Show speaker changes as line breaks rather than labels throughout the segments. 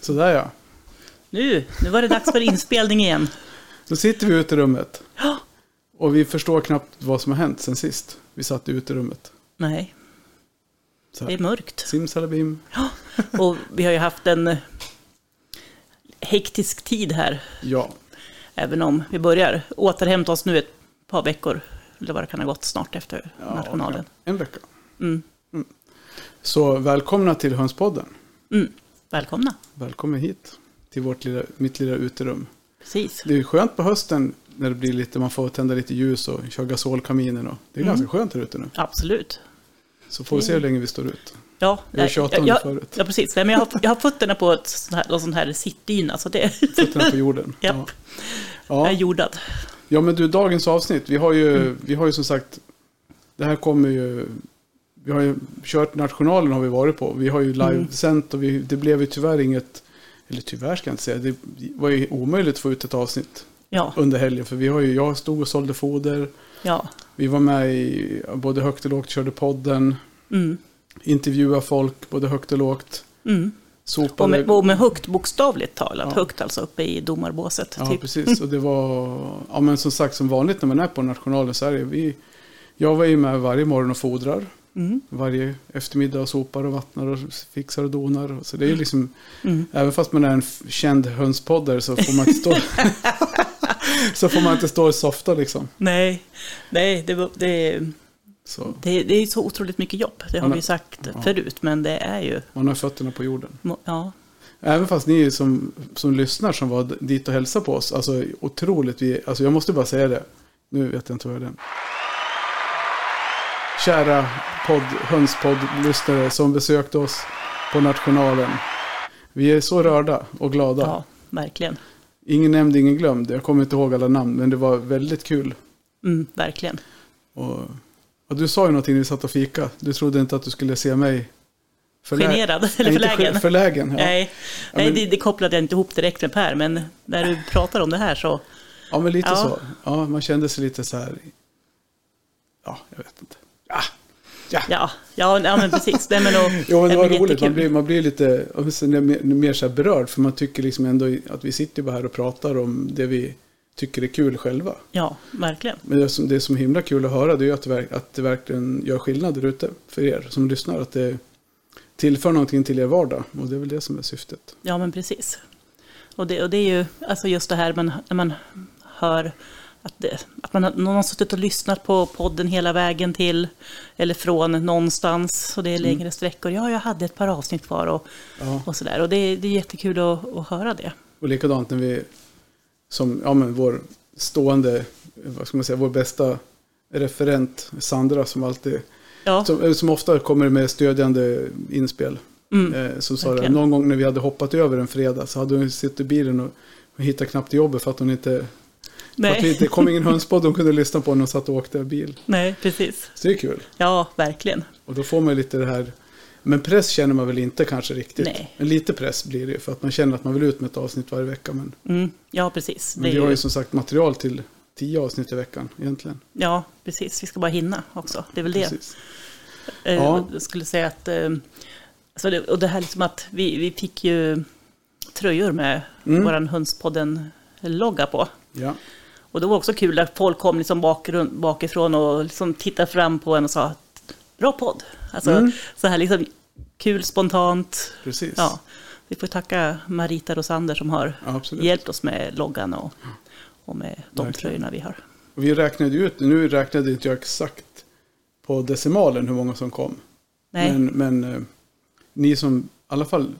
Sådär ja.
Nu, nu var det dags för inspelning igen.
Då sitter vi ute i rummet.
Ja.
Och vi förstår knappt vad som har hänt sen sist. Vi satt ute i rummet.
Nej,
Så
det är
här.
mörkt.
Simsalabim.
Ja. Och vi har ju haft en eh, hektisk tid här,
Ja.
även om vi börjar återhämta oss nu ett par veckor, eller vad det kan ha gått snart efter
ja
nationalen.
En vecka.
Mm.
Så välkomna till Hönspodden.
Mm. Välkomna,
Välkommen hit. Till vårt lilla, mitt lilla uterum.
precis.
Det är skönt på hösten när det blir lite, man får tända lite ljus och köra gasolkaminen. Och, det är ganska skönt här ute nu.
Mm. Absolut.
Så får vi se hur länge vi står ut.
Ja, eh,
Jag har tjatat om det
jag,
förut.
Ja, precis. Nej, men jag, har, jag har fötterna på ett sånt här, någon sån här sittdyna, så det
Fötterna på jorden.
Japp. jag
Ja.
är
Ja.
jordad. Mm.
ja, men du, dagens avsnitt. Vi har ju, vi har ju som sagt, det här kommer ju, vi har ju kört nationalen har vi varit på. Vi har ju
Mm.
livesänt och vi, det blev ju tyvärr inget, eller tyvärr ska jag inte säga, det var ju omöjligt att få ut ett avsnitt
Ja,
under helgen. För vi har ju, jag stod och sålde foder,
ja.
vi var med i både högt och lågt, körde podden,
Mm.
intervjuade folk både högt och lågt.
Mm. Och
Sopade.
med, och med högt bokstavligt talat,
Ja.
högt alltså uppe i domarbåset.
Ja,
typ.
precis. Och det var, ja men som sagt som vanligt när man är på nationalen så är det, vi, jag var ju med varje morgon och fodrar.
Mm,
Varje eftermiddag och sopar och vattnar och fixar och donar. Så det är ju liksom,
mm.
även fast man är en f- känd hönspoddare så får man inte stå, så får man inte stå och softa liksom.
Nej, nej det, var- det,
Så
det, det är ju så otroligt mycket jobb. Det har
Ja,
vi ju sagt
ja.
förut, men det är ju...
man har fötterna på jorden.
må- Ja,
Även fast ni som, som lyssnar som var d- dit och hälsade på oss, alltså otroligt, vi, alltså jag måste bara säga det. Nu vet jag inte vad jag är den. Kära podd, hönspoddlyssnare som besökte oss på nationalen. Vi är så rörda och glada.
ja, verkligen.
Ingen nämnd, ingen glömd. Jag kommer inte ihåg alla namn, men det var väldigt kul.
Mm, verkligen.
Och, och du sa ju någonting när vi satt och fika. Du trodde inte att du skulle se mig förlä-
Generad, eller
Nej, inte
förlägen.
ge- Förlägen, ja.
Nej, nej
men-
det, det kopplade jag inte ihop direkt med Per, men när du pratar om det här så...
Ja, men lite
Ja.
så. Ja, man kände sig lite så här. Ja, jag vet inte. Ja, ja.
Ja, ja, ja men precis. Nej, men, och,
Jo, men
nej,
det var roligt. Man
jättekul.
blir, man blir lite och sen är det mer, mer så här berörd. För man tycker liksom ändå att vi sitter bara här och pratar om det vi tycker är kul själva.
Ja, verkligen.
Men det som, det som är himla kul att höra det är ju att det, verk, att det verkligen gör skillnad där ute för er som lyssnar. Att det tillför någonting till er vardag. Och det är väl det som är syftet.
Ja, men precis. Och det, och det är ju alltså just det här man, när man hör att, det, att man, har- någon har suttit och lyssnat på podden hela vägen till eller från någonstans och det är längre sträckor. Ja, jag hade ett par avsnitt kvar och,
Mm. Ja.
och sådär. Och det, det är jättekul att, att höra det.
Och likadant när vi, som ja, men vår stående, vad ska man säga, vår bästa referent Sandra som alltid,
Ja,
som, eh, som ofta kommer med stödjande inspel.
mm,
Eh, som sa det,
verkligen.
någon gång när vi hade hoppat över en fredag så hade hon suttit i bilen och och hittat knappt till jobbet för att hon inte... För att vi
nej,
inte- det kom ingen hönspodd hon kunde lyssna på när hon satt och åkte bil.
nej, precis.
Så det är kul.
Ja, verkligen.
Och då får man ju lite det här... Men press känner man väl inte kanske riktigt.
Nej.
Men lite press blir det ju för att man känner att man vill ut med ett avsnitt varje vecka. Men
Mm, ja, precis. Det
Men
är
vi har ju
ju,
som sagt material till tio avsnitt i veckan egentligen.
ja, precis. Vi ska bara hinna också. Det är väl det.
Precis.
Eh,
Ja.
och Jag skulle säga att, eh, så det, och det här liksom att vi, vi fick ju tröjor med
Mm.
våran Hönspodden-logga på.
Ja.
Och det var också kul att folk kom liksom bakgrund, bakifrån och liksom tittade fram på en och sa att bra podd. Alltså
Mm.
så här liksom kul, spontant.
Precis.
Ja, vi får tacka Marita Rosander som har
Ja, absolut.
hjälpt oss med loggan och, och med de
Verkligen.
tröjorna vi har.
Och vi räknade ju ut, nu räknade inte jag exakt på decimalen hur många som kom.
Nej,
Men, men eh, ni som, i alla fall,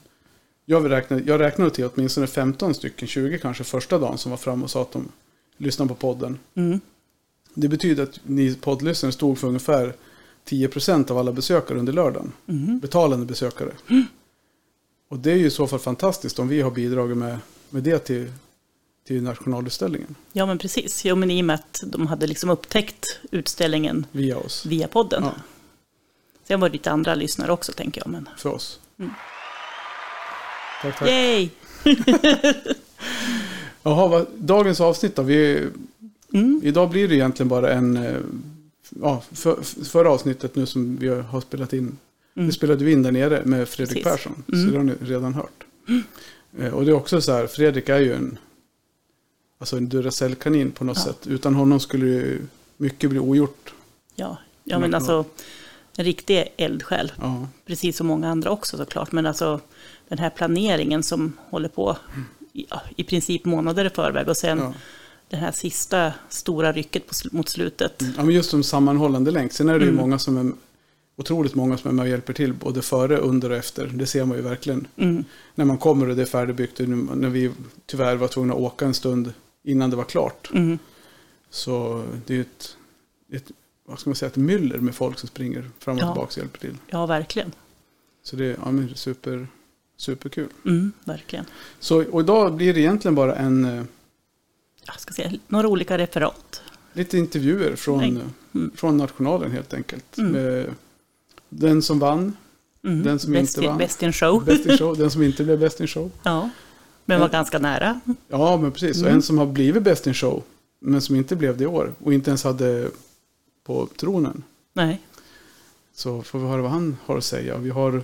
jag räknade, jag räknade till åtminstone 15 stycken, 20 kanske första dagen som var fram och sa att de lyssnade på podden.
mm,
Det betyder att ni poddlyssnare stod för ungefär 10% av alla besökare under lördagen.
mhm,
betalande besökare. Och det är ju i så fall fantastiskt om vi har bidragit med, med det till, till nationalutställningen
ja men precis. Jo men i och med att de hade liksom upptäckt utställningen
via oss.
via podden.
Ja,
Sen var det lite andra lyssnare också tänker jag. Men...
för oss.
Mm.
Tack, tack.
Yay!
Jaha, vad, dagens avsnitt då? Vi,
Mm.
idag blir det egentligen bara en... eh, Ja, för, förra avsnittet nu som vi har spelat in.
Mm.
Det spelade vi in där nere med Fredrik
Precis.
Persson. Så
Mm.
det har ni redan hört. Eh, Och det är också så här, Fredrik är ju en, alltså en Duracell-kanin på något
Ja.
sätt. Utan honom skulle ju mycket bli ogjort. Mm.
Ja, ja men alltså en riktig eldsjäl.
Ja,
Precis som många andra också såklart. Men alltså den här planeringen som håller på i, ja, i princip månader i förväg. Och sen
ja.
det här sista stora rycket på, sl- mot slutet.
ja men just som sammanhållande länk. Sen är det ju
Mm.
många som är, otroligt många som är med och hjälper till. Både före, under och efter. Det ser man ju verkligen.
Mm.
När man kommer och det är färdigbyggt. och nu- När vi tyvärr var tvungna att åka en stund innan det var klart.
Mm.
Så det är ju ett, ett, vad ska man säga, ett myller med folk som springer fram och
Ja.
tillbaka och hjälper till.
Ja, verkligen.
Så det är ja, men super, superkul.
Mm, verkligen.
Så, och idag blir det egentligen bara en, eh,
Jag ska säga, några olika referat.
lite intervjuer från,
Nej.
eh,
Mm.
från nationalen helt enkelt.
Mm.
Med den som vann,
Mm.
Den som
bäst,
inte
i-
vann.
Bäst i en show.
Best in show, den som inte blev Best in show.
Ja. Men var
Ja.
ganska nära.
Ja, men precis. Och
Mm.
en som har blivit Best in show, men som inte blev det i år. Och inte ens hade på tronen.
Nej.
Så får vi höra vad han har att säga. Vi har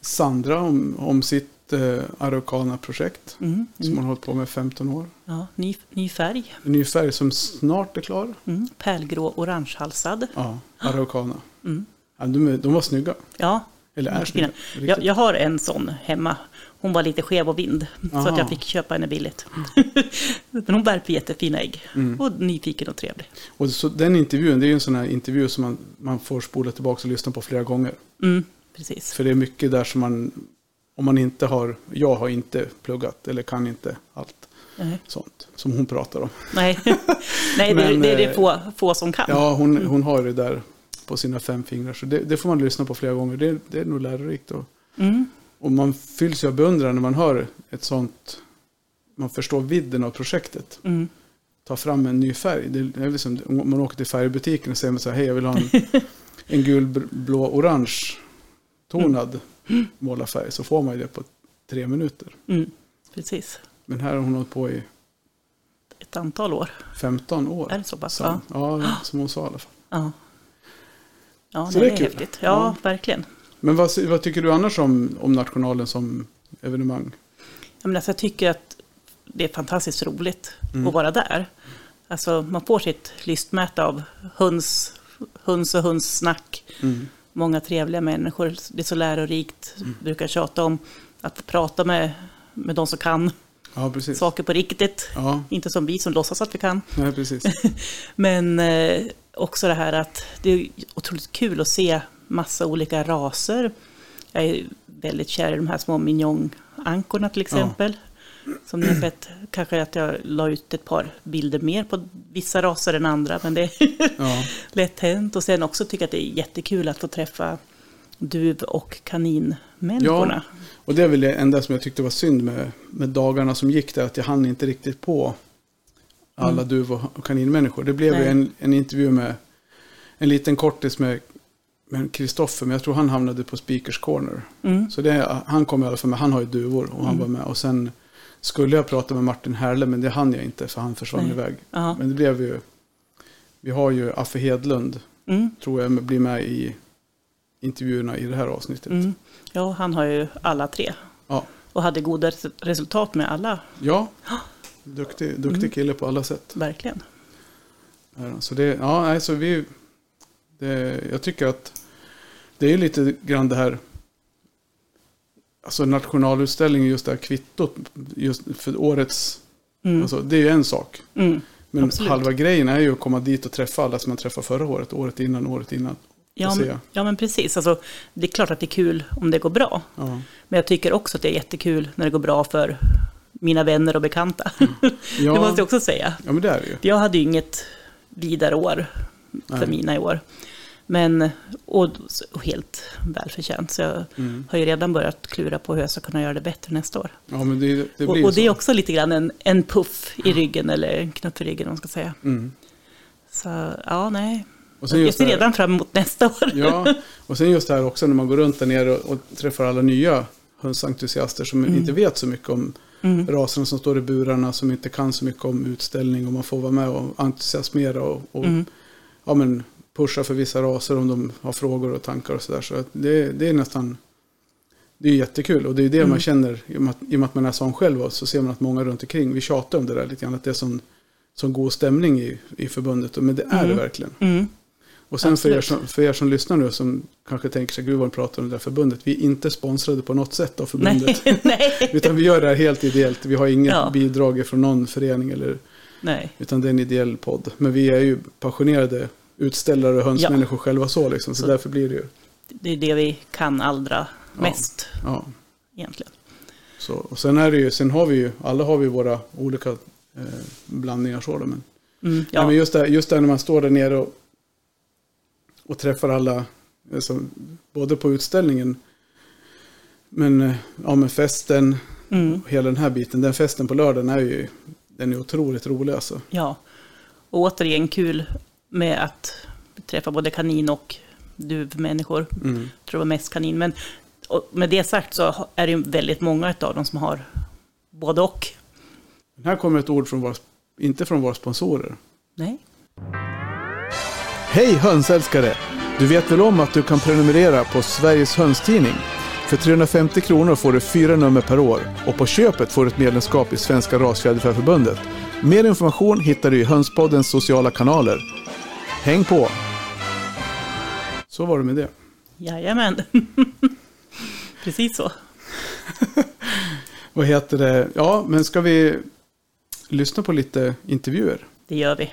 Sandra om, om sitt eh, Araucana-projekt.
Mm.
Som hon har hållit på med i 15 år.
Ja, ny, ny färg.
En ny färg som snart är klar.
Mm. Pärlgrå orangehalsad.
Ja, Araucana.
Mm.
Ja, de, är- de var snygga.
Ja,
Eller
Fina.
är snygga. Riktigt.
jag, jag har en sån hemma. Hon var lite skev och vind, så
Aha.
att jag fick köpa henne billigt. Men hon bär på jättefina ägg.
Mm.
Och nyfiken och trevlig.
Och så, den intervjun, det är ju en sån här intervju som man, man får spola tillbaka och lyssna på flera gånger.
Mm, precis.
För det är mycket där som man, om man inte har, jag har inte pluggat eller kan inte allt
Nej,
sånt som hon pratar om.
Nej, Nej det,
Men,
det är det
eh,
få, få som kan.
Ja, hon, hon har det där på sina fem fingrar. Så det, det får man lyssna på flera gånger. Det, det är nog lärorikt. Och,
Mm,
och man fylls ju av beundran när man hör ett sånt, man förstår vidden av projektet.
mm,
ta fram en ny färg. Det är liksom, om man åker till färgbutiken och säger man så här, hej jag vill ha en, en gul, bl- blå, orange tonad målarfärg så får man ju det på tre minuter.
mm, precis.
Men här har hon hållit på i
Ett antal år.
15 år.
Är det så pass?
Som, ja, som hon sa i alla fall.
Ja, ja
Så
nej,
det är
det är
kul.
häftigt. Ja,
Ja.
verkligen.
Men vad, sy- vad tycker du annars om, om nationalen som evenemang?
Jag, menar, så alltså, jag tycker att det är fantastiskt roligt
Mm.
att vara där. Alltså, man får sitt lystmäte av höns, höns och hönssnack.
Mm.
Många trevliga människor. Det är så lärorikt. Brukar tjata om att prata med, med de som kan
Ja, precis.
saker på riktigt.
Ja,
Inte som vi som låtsas att vi kan.
nej, precis.
Men eh, också det här att det är otroligt kul att se massa olika raser. Jag är väldigt kär i de här små mignon-ankorna till exempel. Som ni har sett, kanske att jag la ut ett par bilder mer på vissa raser än andra, men det är
Ja,
lätt hänt. Och sen också tycker jag att det är jättekul att få träffa duv och kaninmänniskorna.
och det är väl det enda som jag tyckte var synd med, med dagarna som gick där, att jag hann inte riktigt på alla
Mm.
duv och och kaninmänniskor. Det blev ju
Nej.
en, en intervju med en liten kortis med med Kristoffer, men jag tror han hamnade på Speakers Corner.
Mm.
Så det, han kom i alla fall med, han har ju duvor och han
Mm.
var med. Och sen skulle jag prata med Martin Härle, men det hann jag inte för han försvann
Nej.
iväg.
Ja.
Men det blev ju, vi har ju Affe Hedlund,
Mm.
tror jag, blir med i intervjuerna i det här avsnittet.
Mm. ja, han har ju alla tre.
Ja.
Och hade goda res- resultat med alla,
Ja, duktig, duktig
Mm.
kille på alla sätt.
verkligen.
är han. Så det, ja, nej, så vi, det, jag tycker att det är lite grann det här, alltså nationalutställningen, just det här kvittot, just för årets,
Mm.
alltså, det är ju en sak.
Mm.
Men
Absolut.
halva grejen är ju att komma dit och träffa alla som man träffade förra året, året innan, året innan.
Ja,
Och se.
men, ja, men precis. Alltså, det är klart att det är kul om det går bra.
Ja,
Men jag tycker också att det är jättekul när det går bra för mina vänner och bekanta.
Mm. ja,
Det måste jag också säga.
ja men det är det ju.
Jag hade ju inget vidare år för
Nej.
mina i år. Men, och, och helt välförtjänt. Så jag
Mm.
har ju redan börjat klura på hur jag ska kunna göra det bättre nästa år.
Ja, men det, det blir
och,
ju
och det är
så.
också lite grann en, en puff i ryggen, eller en knuff i ryggen om man ska säga.
Mm.
Så ja, nej.
Och sen
Jag
just
ser
det här-
redan fram emot nästa år.
Ja, och sen just det här också när man går runt där nere och, och träffar alla nya hönsentusiaster som inte vet så mycket om
Mm.
raserna som står i burarna, som inte kan så mycket om utställning och man får vara med och entusiasmera och, och
Mm.
ja, men pusha för vissa raser om de har frågor och tankar och sådär. Så att det, det är nästan Det är jättekul och det är det
Mm.
man känner i och, med att, i och med att man är sån själv och så ser man att många runt omkring, vi tjatar om det där lite grann, att det är sån, sån god stämning i, i förbundet. Men det är det verkligen.
Mm.
Och sen för er,
Absolut.
som, för er som lyssnar nu som kanske tänker sig, gud vad de pratar om det där förbundet. Vi är inte sponsrade på något sätt av förbundet.
Nej, nej,
Utan vi gör det här helt ideellt. Vi har inget
Ja.
bidrag från någon förening. Eller,
nej.
utan det är en ideell podd. Men vi är ju passionerade utställare och hönsmänniskor själva så. Liksom, så,
Så-
därför blir det ju.
Det är det vi kan allra
Ja.
mest
Ja.
egentligen.
Så, och sen, är det ju, sen har vi ju, alla har vi våra olika eh, blandningar. Så, då, men,
Mm,
Nej,
ja.
men just, det, just det när man står där nere och, och träffar alla, alltså, både på utställningen, men, eh, ja, men festen,
Mm,
och hela den här biten. Den festen på lördagen är ju den är otroligt rolig alltså.
ja. Och återigen kul med att träffa både kanin och duvmänniskor.
Mm.
Jag tror det var mest kanin. Men och med det sagt så är det ju väldigt många av dem som har både och.
Men här kommer ett ord från våra, inte från våra sponsorer.
Nej.
Hej hönsälskare! Du vet väl om att du kan prenumerera på Sveriges Hönstidning? För 350 kronor får du fyra nummer per år och på köpet får du ett medlemskap i Svenska Rasfjäderfäförbundet. Mer information hittar du i Hönspoddens sociala kanaler. Häng på! Så var det med det.
Jajamän. Precis så.
Vad heter det? Ja, men ska vi lyssna på lite intervjuer?
Det gör vi.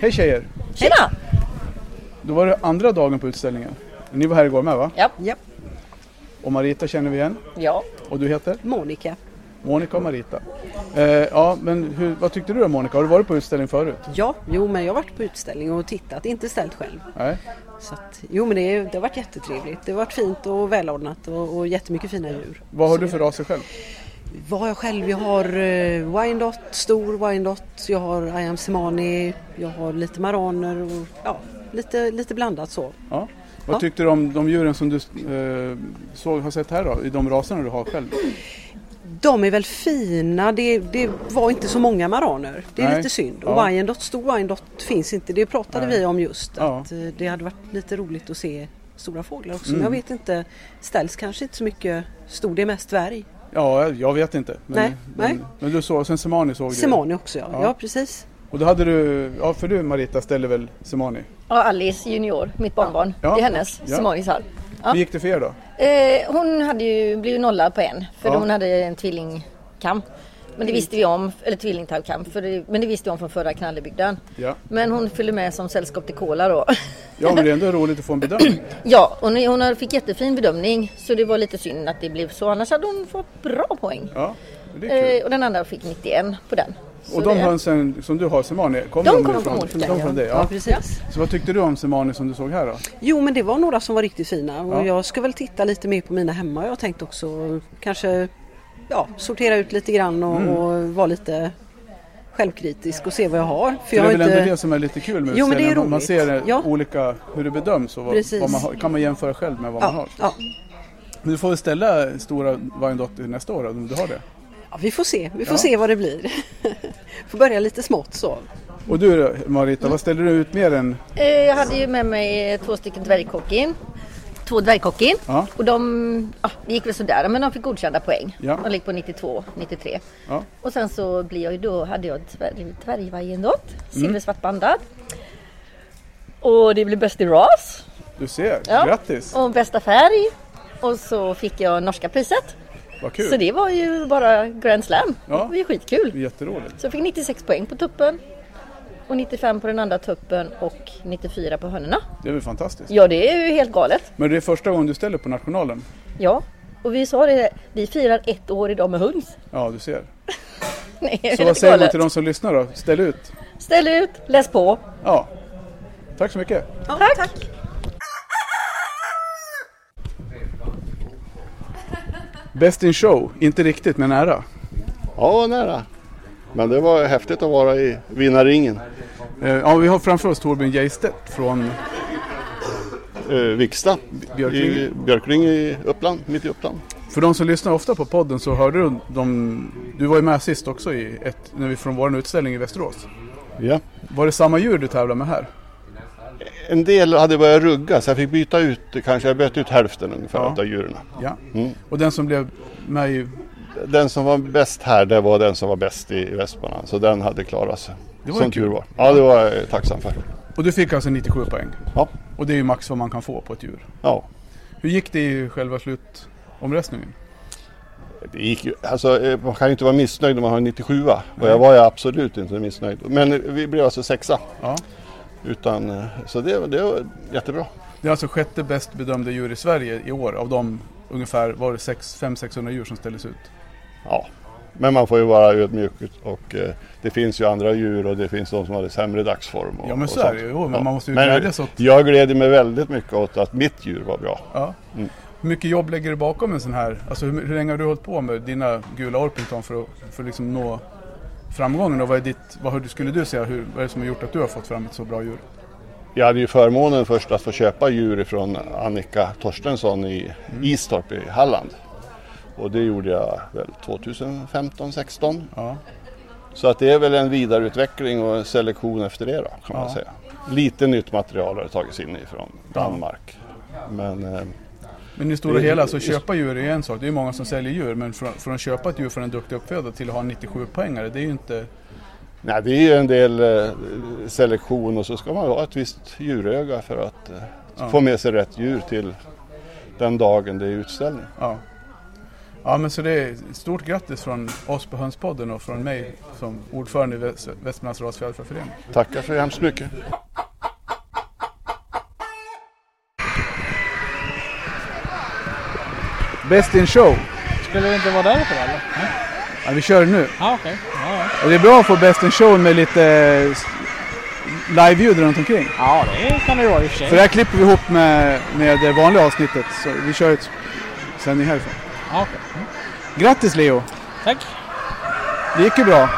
Hej tjejer!
Tjena!
Då var det andra dagen på utställningen. Ni var här igår med va?
Ja.
Och Marita känner vi igen.
ja,
Och du heter?
Monica.
Monica och Marita. Eh, ja, men hur, vad tyckte du då Monica? Har du varit på utställning förut?
Ja, jo men jag har varit på utställning och tittat, inte ställt själv.
Nej.
Så att, jo men det, är- det har varit jättetrevligt. Det har varit fint och välordnat och, och jättemycket fina djur.
Vad har du för raser själv?
Vad har jag själv? Jag har eh, Wyandotte, stor Wyandotte, jag har Ayam Semani, jag har lite maraner och ja, lite, lite blandat så.
Ja. Vad
Ja.
tyckte du om de djuren som du eh, såg, har sett här då? I de raserna du har själv?
De är väl fina, det, det var inte så många maraner. Det är
Nej.
lite synd.
Ja.
Och Wyandotte, stor Wyandotte finns inte, det pratade
Nej.
vi om just.
Ja.
Att eh, det hade varit lite roligt att se stora fåglar också.
Mm.
Men jag vet inte, ställs kanske inte så mycket stor, det är mest dvärg.
Ja, jag- jag vet inte. Men,
Nej,
men,
nej.
men du såg, sen Semani såg
Semani också ja,
Ja.
ja, precis.
du. Och då hade du, ja för du Marita ställer väl Semani?
Ja, Alice junior, mitt barnbarn.
Ja.
Det är hennes,
Ja.
ja. Simonis här. Ja.
Hur gick det för er då?
Eh, hon hade ju blivit nollad på en, för
Ja. Mm.
hon hade en tvillingkam. Men det visste vi om, eller tvillingtallkam, för det, men det visste vi om från förra knallebygden.
Ja.
Men hon fyllde med som sällskap till Kola då.
ja, men det är ändå roligt att få en bedömning.
ja, och ni- hon har- fick jättefin bedömning, så det var lite synd att det blev så. Annars hade hon fått bra poäng.
Ja, det är kul.
Eh, och den andra fick 91 på den. Så
Och de
det-
hönsen som du har, Semani, kommer
De
de,
kommer
ifrån?
från Olika,
de
ja.
från dig?
Ja,
Ja.
precis.
Så vad tyckte du om Semani som du såg här då?
Jo men det var några som var riktigt fina och
Ja.
jag ska väl titta lite mer på mina hemma jag har tänkt också. Kanske ja, sortera ut lite grann och,
Mm.
och vara lite självkritisk och se vad jag har. För
För
jag
det
har
är väl
inte-
ändå det som är lite kul med
Jo, men det är
utställningen. Man ser
roligt. Ja.
olika hur det bedöms och vad,
Precis.
vad man har. kan man jämföra själv med vad man
ja,
har.
ja,
Men du får väl ställa stora Wyandotte nästa år då, om du har det.
Ja, vi får se. Vi får
Ja.
se vad det blir. får börja lite smått så.
Och du då, Marita, vad ställer du ut mer än...
Eh, Jag hade ju med mig eh, två stycken dvärgkockin. Två dvärgkockin.
Ja.
Och de, ja, det gick väl sådär, men de fick godkända poäng.
Ja.
De ligger på 92, 93.
Ja.
Och sen så blir jag ju då, hade jag dvärg- dvärgvajendott,
Mm.
silversvart bandad. Och det blev bäst i ras.
Du ser,
Ja.
grattis!
Och bästa färg. Och så fick jag norska priset.
Vad kul!
Så det var ju bara grand slam.
Ja.
Det var ju skitkul.
Det är jätteroligt.
Så jag fick 96 poäng på tuppen. Och 95 på den andra tuppen och 94 på hönorna.
Det är väl fantastiskt.
Ja, det är ju helt galet.
Men det är första gången du ställer på nationalen.
Ja, och vi sa det, vi firar ett år idag med höns.
Ja, du ser.
Nej, det är
Så
helt
vad säger man
galet.
till de som lyssnar då? Ställ ut!
Ställ ut, läs på.
Ja. Tack så mycket!
tack.
Best in show, inte riktigt men nära.
Ja, nära. Men det var häftigt att vara i vinnarringen.
Eh, Ja, vi har framför oss Torbjörn Geistedt från
Eh, Viksta.
Björklinge.
I Björklinge i Uppland, mitt i Uppland.
För de som lyssnar ofta på podden så hörde du de, du var ju med sist också i ett, när vi, från vår utställning i Västerås.
Ja.
Var det samma djur du tävlade med här?
En del hade börjat rugga så jag fick byta ut, kanske jag bytte ut hälften ungefär
Ja.
av djuren.
Ja.
Mm.
Och den som blev med i...
Den som var bäst här, det var den som var bäst i Västmanland. Så den hade klarat sig.
Det var
som
ju kul.
tur var. Ja, det var jag tacksam för.
Och du fick alltså 97 poäng.
Ja.
Och det är ju max vad man kan få på ett djur.
Ja.
Hur gick det i själva slutomröstningen?
Det gick ju, alltså, eh, man kan ju inte vara missnöjd när man har en 97 och jag var ju absolut inte missnöjd. Men eh, vi blev alltså sexa.
Ja.
Utan, eh, så det, det var jättebra.
Det är alltså sjätte bäst bedömda djur i Sverige i år av de ungefär var det 500-600 djur som ställdes ut.
Ja. Men man får ju vara ödmjuk och eh, det finns ju andra djur och det finns de som hade sämre dagsform. Och,
Ja men
och
så är
sånt.
det ju, Jo, men
Ja.
man måste ju
Men-
glädjas åt...
Jag gläder mig väldigt mycket åt att mitt djur var bra.
Ja.
Mm.
Hur mycket jobb lägger du bakom en sån här? Alltså hur, hur länge har du hållit på med dina gula Orpington för att för att liksom nå framgången? Och vad, är ditt, vad har du- skulle du säga, hur, vad är det som har gjort att du har fått fram ett så bra djur?
Jag hade ju förmånen först att få köpa djur från Annika Torstensson i
Mm.
Istorp i Halland. Och det gjorde jag väl 2015, 16
Ja.
Så att det är väl en vidareutveckling och en selektion efter det då, kan man
Ja.
säga. Lite nytt material har det tagits in ifrån Danmark. Men eh,
Men i det stora
Det-
hela så
det-
köpa djur är en sak. Det är ju många som säljer djur men från, från att köpa ett djur från en duktig uppfödare till att ha en 97 poängare det är ju inte...
nej, det är ju en del eh, selektion och så ska man ha ett visst djuröga för att eh,
Ja.
få med sig rätt djur till den dagen det är utställning.
Ja. Ja men så det är stort grattis från oss på Hönspodden och från mig som ordförande i Väst, Västmanlands rasfjäderfäförening.
Tackar så hemskt mycket.
Best in show!
Skulle det inte vara därför eller?
Ja, vi kör nu.
Ja, okej. Ja, ja.
Och det är bra att få Best in show med lite eh, s- live-ljud runt omkring.
ja, det kan det vara i och för
För
sig.
det här klipper vi ihop med, med det vanliga avsnittet. Så vi kör ett sändning härifrån.
Ja, okej. Mm.
Grattis Leo!
Tack.
Det gick ju bra.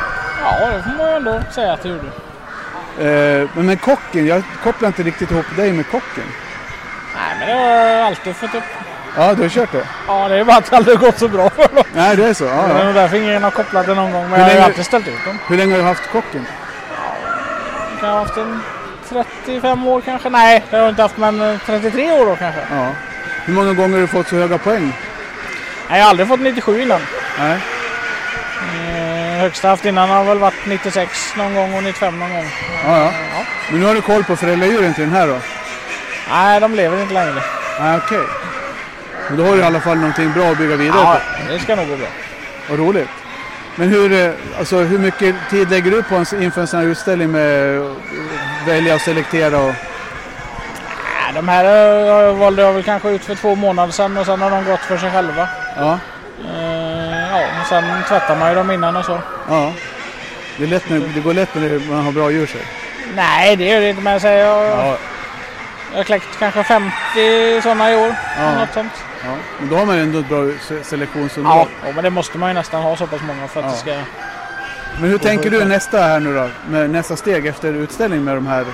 Ja, det får man ju ändå säga att du gjorde.
Eh, men med kocken, jag kopplar inte riktigt ihop dig med kocken.
Nej, men det har jag alltid fått upp.
Ja, du har kört det?
Ja, det är bara att det aldrig har gått så bra för dem.
Nej, det är så.
Det
Ja,
är
ja.
nog därför ingen har kopplat det någon gång. Men
Hur
jag har ju
länge-
alltid ställt ut dem.
Hur länge har du haft kocken?
Jag har haft en 35 år kanske. Nej, det har jag inte haft, men eh, 33 år då kanske.
Ja. Hur många gånger har du fått så höga poäng?
Nej, jag har aldrig fått 97 innan.
Nej.
Eh, högsta jag haft innan har väl varit 96 någon gång och 95 någon gång.
Ja, ja.
Ja.
Men nu har du koll på föräldradjuren till den här då?
Nej, de lever inte längre.
Nej, okej. Men då har du i alla fall någonting bra att bygga vidare
Ja,
på.
det ska nog gå bra.
Vad roligt. Men hur, eh, alltså, hur mycket tid lägger du på en, inför en sån här utställning med att välja och selektera? Och,
Nej, de här eh, valde jag väl kanske ut för två månader sedan och sen har de gått för sig själva.
ja,
Eh, ja, och sen tvättar man ju dem innan och så.
ja. Det, är lätt när, det går lätt när man har bra djur sig.
Nej, det gör det inte men jag säger jag,
Ja,
jag har kläckt kanske 50 sådana i år.
Ja.
Något sånt.
ja. Men då har man ju ändå ett bra se- selektionsunderlag.
Ja. ja, men det måste man ju nästan ha så pass många för att
Ja.
det ska...
Men hur tänker du nästa här nu då? Med nästa steg efter utställning med de här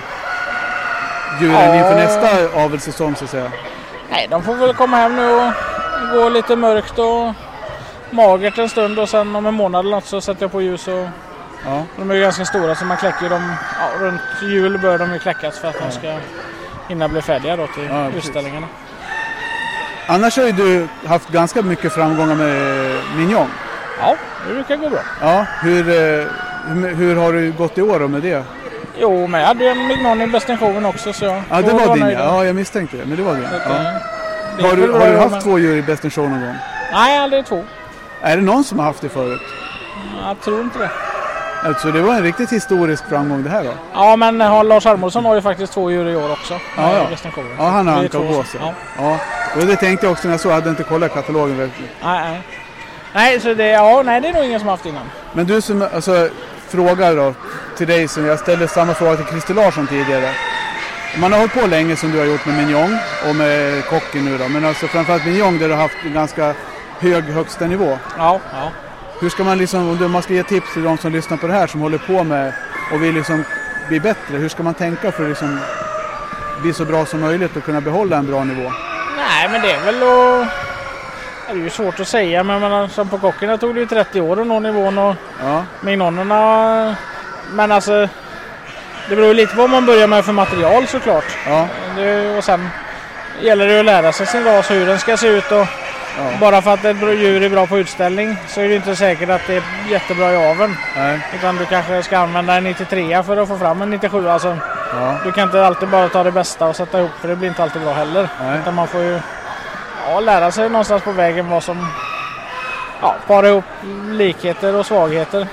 Ja.
djuren inför nästa avelssäsong så att säga?
Nej, de får väl komma hem nu och gå lite mörkt och magert en stund och sen om en månad eller något så sätter jag på ljus och
Ja.
de är ju ganska stora så man kläcker ju dem ja, runt jul bör de ju kläckas för att de ska hinna bli färdiga då till
Ja, precis.
utställningarna.
Annars har ju du haft ganska mycket framgångar med eh, Mignon.
Ja, det brukar gå bra.
Ja, hur, eh, hur, hur har du gått i år då med det?
Jo, men jag hade ju en mignon i bestensionen också så jag...
Ja, det
jag
var din
nöjd.
ja. ja. jag misstänkte det, men det var din.
Så att,
Ja.
eh, det
Har,
gick väl
du, har
bra,
du
men-
haft två djur i Best in Show någon gång?
Nej, aldrig två.
Är det någon som har haft det förut?
Jag tror inte det.
Alltså det var en riktigt historisk framgång det här då.
Ja, men eh, Lars Hermodsson har ju faktiskt två djur i år också.
Ja,
med
ja.
bestensionen.
Ja, han
Det
har
är
Anka och
två-
Gåse.
Ja.
Ja, och det tänkte jag också när jag såg, jag hade inte kollat katalogen. verkligen.
Nej, nej. Nej, så det, ja, nej, det är nog ingen som har haft innan.
Men du som, alltså frågar då till dig som jag ställde samma fråga till Christer Larsson tidigare. Man har hållit på länge som du har gjort med Mignon och med kocken nu då, men alltså framförallt Mignon där du har haft en ganska hög högsta nivå.
Ja, ja.
Hur ska man liksom, om du- om man ska ge tips till de som lyssnar på det här som håller på med och vill liksom bli bättre, hur ska man tänka för att liksom bli så bra som möjligt och kunna behålla en bra nivå?
Nej, men det är väl att... Det är ju svårt att säga, men jag menar, som på Kockerna tog det ju 30 år att nå nivån och
Ja,
mignonerna... eh, Men alltså, Det beror ju lite på vad man börjar med för material såklart.
Ja,
Det, och sen gäller det ju att lära sig sin ras och hur den ska se ut. Och
Ja.
Bara för att ett bra djur är bra på utställning så är det ju inte säkert att det är jättebra i aveln.
nej,
Utan du kanske ska använda en 93 för att få fram en 97. Alltså,
ja,
du kan inte alltid bara ta det bästa och sätta ihop för det blir inte alltid bra heller.
nej.
Utan man får ju ja, lära sig någonstans på vägen vad som ja, para ihop likheter och svagheter.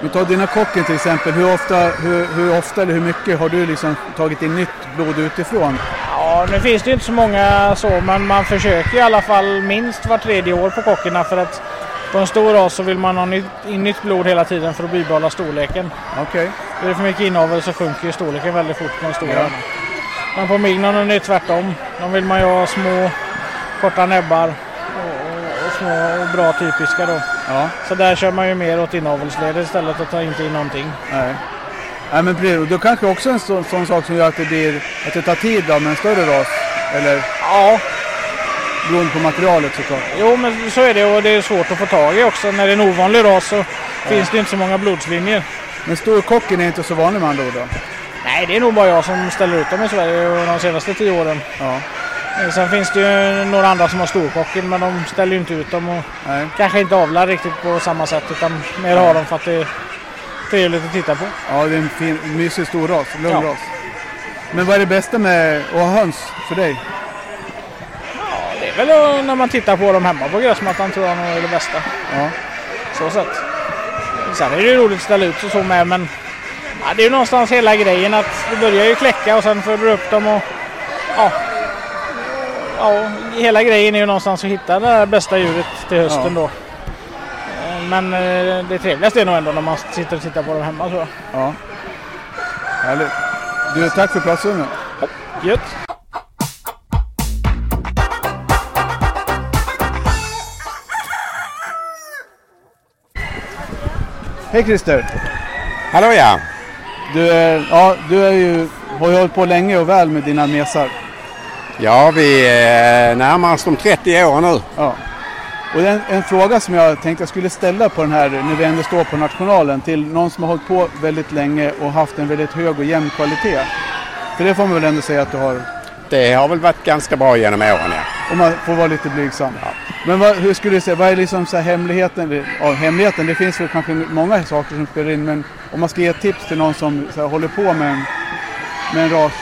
Men ta dina kocken till exempel. Hur ofta, hur, hur ofta eller hur mycket har du liksom tagit in nytt blod utifrån?
Ja, nu finns det ju inte så många så, men man försöker i alla fall minst var tredje år på kockerna för att på en stor ras så vill man ha nytt, in nytt blod hela tiden för att bibehålla storleken.
Okej.
Är det för mycket inavel så sjunker ju storleken väldigt fort på en stor
Ja.
hörna. Men på mignon är det tvärtom. De vill man ju ha små, korta näbbar och, och, och små och bra typiska då.
Ja,
Så där kör man ju mer åt inavelsledet istället och tar inte in någonting.
nej. Nej men precis. Och Då kanske också en sån, sån sak som gör att det blir, att det tar tid då med en större ras. Eller
Ja,
beroende på materialet såklart.
Jo, men så är det och det är svårt att få tag i också. När det är en ovanlig ras så finns det inte så många blodslinjer.
Men storkocken är inte så vanlig med andra ord då?
Nej, det är nog bara jag som ställer ut dem i Sverige de senaste tio åren.
Ja,
Eh, Sen finns det ju några andra som har storkocken men de ställer ju inte ut dem och
nej.
kanske inte avlar riktigt på samma sätt utan mer har dem för att det är trevligt att titta på.
Ja, det är en fin, mysig stor ras. Lugn
Ja.
ras. Men vad är det bästa med att ha höns för dig?
Ja, det är väl eh, när man tittar på dem hemma på gräsmattan tror jag nog är det bästa.
Ja.
Så sett. Sen är det ju roligt att ställa ut och så med men ja, det är ju någonstans hela grejen att det börjar ju kläcka och sen får du upp dem och ja. ja. Hela grejen är ju någonstans att hitta det där bästa djuret till hösten då. Eh, Men eh, det trevligaste är nog ändå när man sitter och tittar på dem hemma tror jag.
Ja. Härligt. Du, tack för platsen.
Gött!
Hej Christer!
Hallå ja!
Du, är, ja, du är ju, har ju hållit på länge och väl med dina mesar.
Ja, vi eh, närmar oss de 30 åren nu.
Ja. Och en, en fråga som jag tänkte jag skulle ställa på den här, när vi ändå står på nationalen, till någon som har hållit på väldigt länge och haft en väldigt hög och jämn kvalitet. För det får man väl ändå säga att du har,
Det har väl varit ganska bra genom åren ja.
om man får vara lite blygsam. Men vad, hur skulle du säga, vad är liksom så här hemligheten? eller, Ja, hemligheten, det finns väl kanske många saker som spelar in, men om man ska ge ett tips till någon som så här, håller på med en, med en ras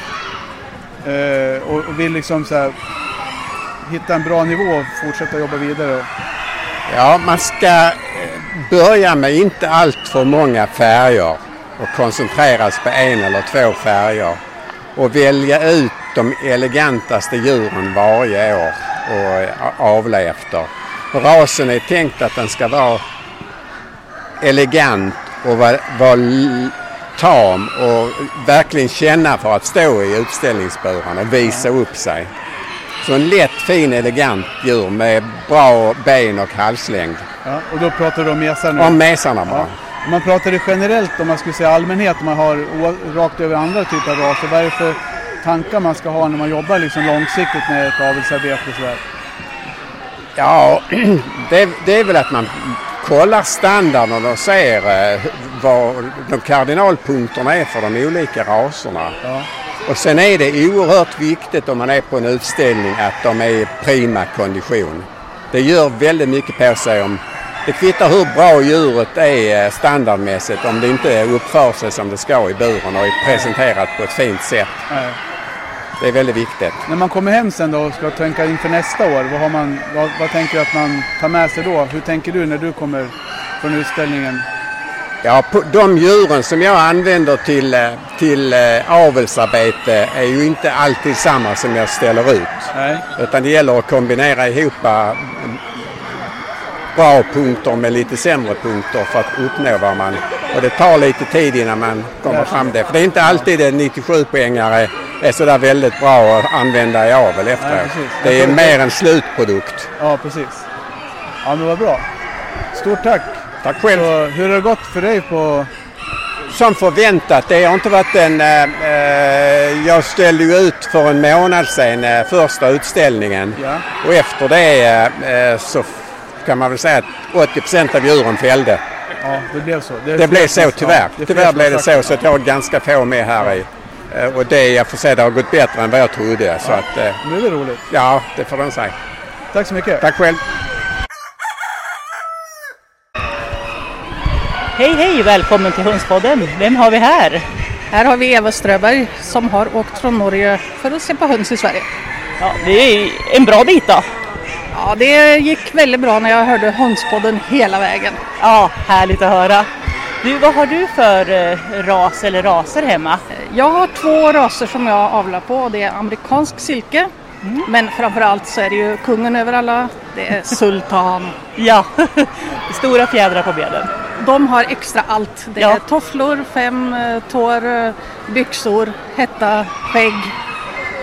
eh, och, och vill liksom så här, hitta en bra nivå och fortsätta jobba vidare. Och,
Ja, man ska eh, börja med inte allt för många färger och koncentrera sig på en eller två färger och välja ut de elegantaste djuren varje år och eh, avla efter. Rasen är tänkt att den ska vara elegant och vara vara l- tam och verkligen känna för att stå i utställningsburen och visa upp sig. Så en lätt, fin, elegant djur med bra ben och halslängd.
ja, och då pratar du om mesar nu.
Om mesarna
Ja.
bara.
Om man pratar det generellt, om man skulle säga allmänhet, om man har o- rakt över andra typer av raser, vad är det för tankar man ska ha när man jobbar liksom långsiktigt med ett avelsarbete och sådär?
Ja, det, det är väl att man kollar standarden och ser eh, vad de kardinalpunkterna är för de olika raserna.
Ja.
Och sen är det oerhört viktigt om man är på en utställning att de är i prima kondition. Det gör väldigt mycket på sig om det kvittar hur bra djuret är eh, standardmässigt om det inte uppför sig som det ska i buren och är presenterat på ett fint sätt.
Nej.
Det är väldigt viktigt.
Eh, När man kommer hem sen då och ska tänka inför nästa år, vad, har man, vad, vad tänker du att man tar med sig då? Hur tänker du när du kommer från utställningen?
Ja, på- de djuren som jag använder till, eh, till eh, avelsarbete är ju inte alltid samma som jag ställer ut.
Nej.
Utan det gäller att kombinera ihop eh, bra punkter med lite sämre punkter för att uppnå vad man... Och det tar lite tid innan man kommer fram det. För det är inte alltid en 97-poängare är sådär väldigt bra att använda i avel efteråt.
precis.
Det är mer en slutprodukt.
Ja, precis. Ja, men vad bra. Stort tack!
Tack själv!
Så, hur har det gått för dig på...
Som förväntat, det har inte varit en... eh, Eh, jag ställde ju ut för en månad sedan eh, första utställningen
Ja.
och efter det eh, eh, så f- kan man väl säga att 80 procent av djuren fällde.
Ja, det blev så. är
Det
fler
blev
som-
så tyvärr.
ja, det är fler
Tyvärr
som
blev
har
det
sagt
så, så att jag har ganska få med här i. Eh, Och det jag får säga, det har gått bättre än vad jag trodde. Så att, eh,
Nu är det roligt.
ja, det får de säga.
Tack så mycket.
Tack själv.
Hej hej, välkommen till Hönspodden. Vem har vi här?
Här har vi Eva Ströberg som har åkt från Norge för att se på höns i Sverige.
Ja, det är en bra bit då.
Ja, det gick väldigt bra när jag hörde hönspodden hela vägen.
Ja, härligt att höra. Du, vad har du för eh, ras eller raser hemma?
Jag har två raser som jag avlar på och det är amerikansk silke
Mm.
men framförallt så är det ju kungen över alla, det
Eh,
är sultan.
Ja, stora fjädrar på benen.
De har extra allt. Det
Ja.
är tofflor, fem eh, tår, eh, byxor, hetta, skägg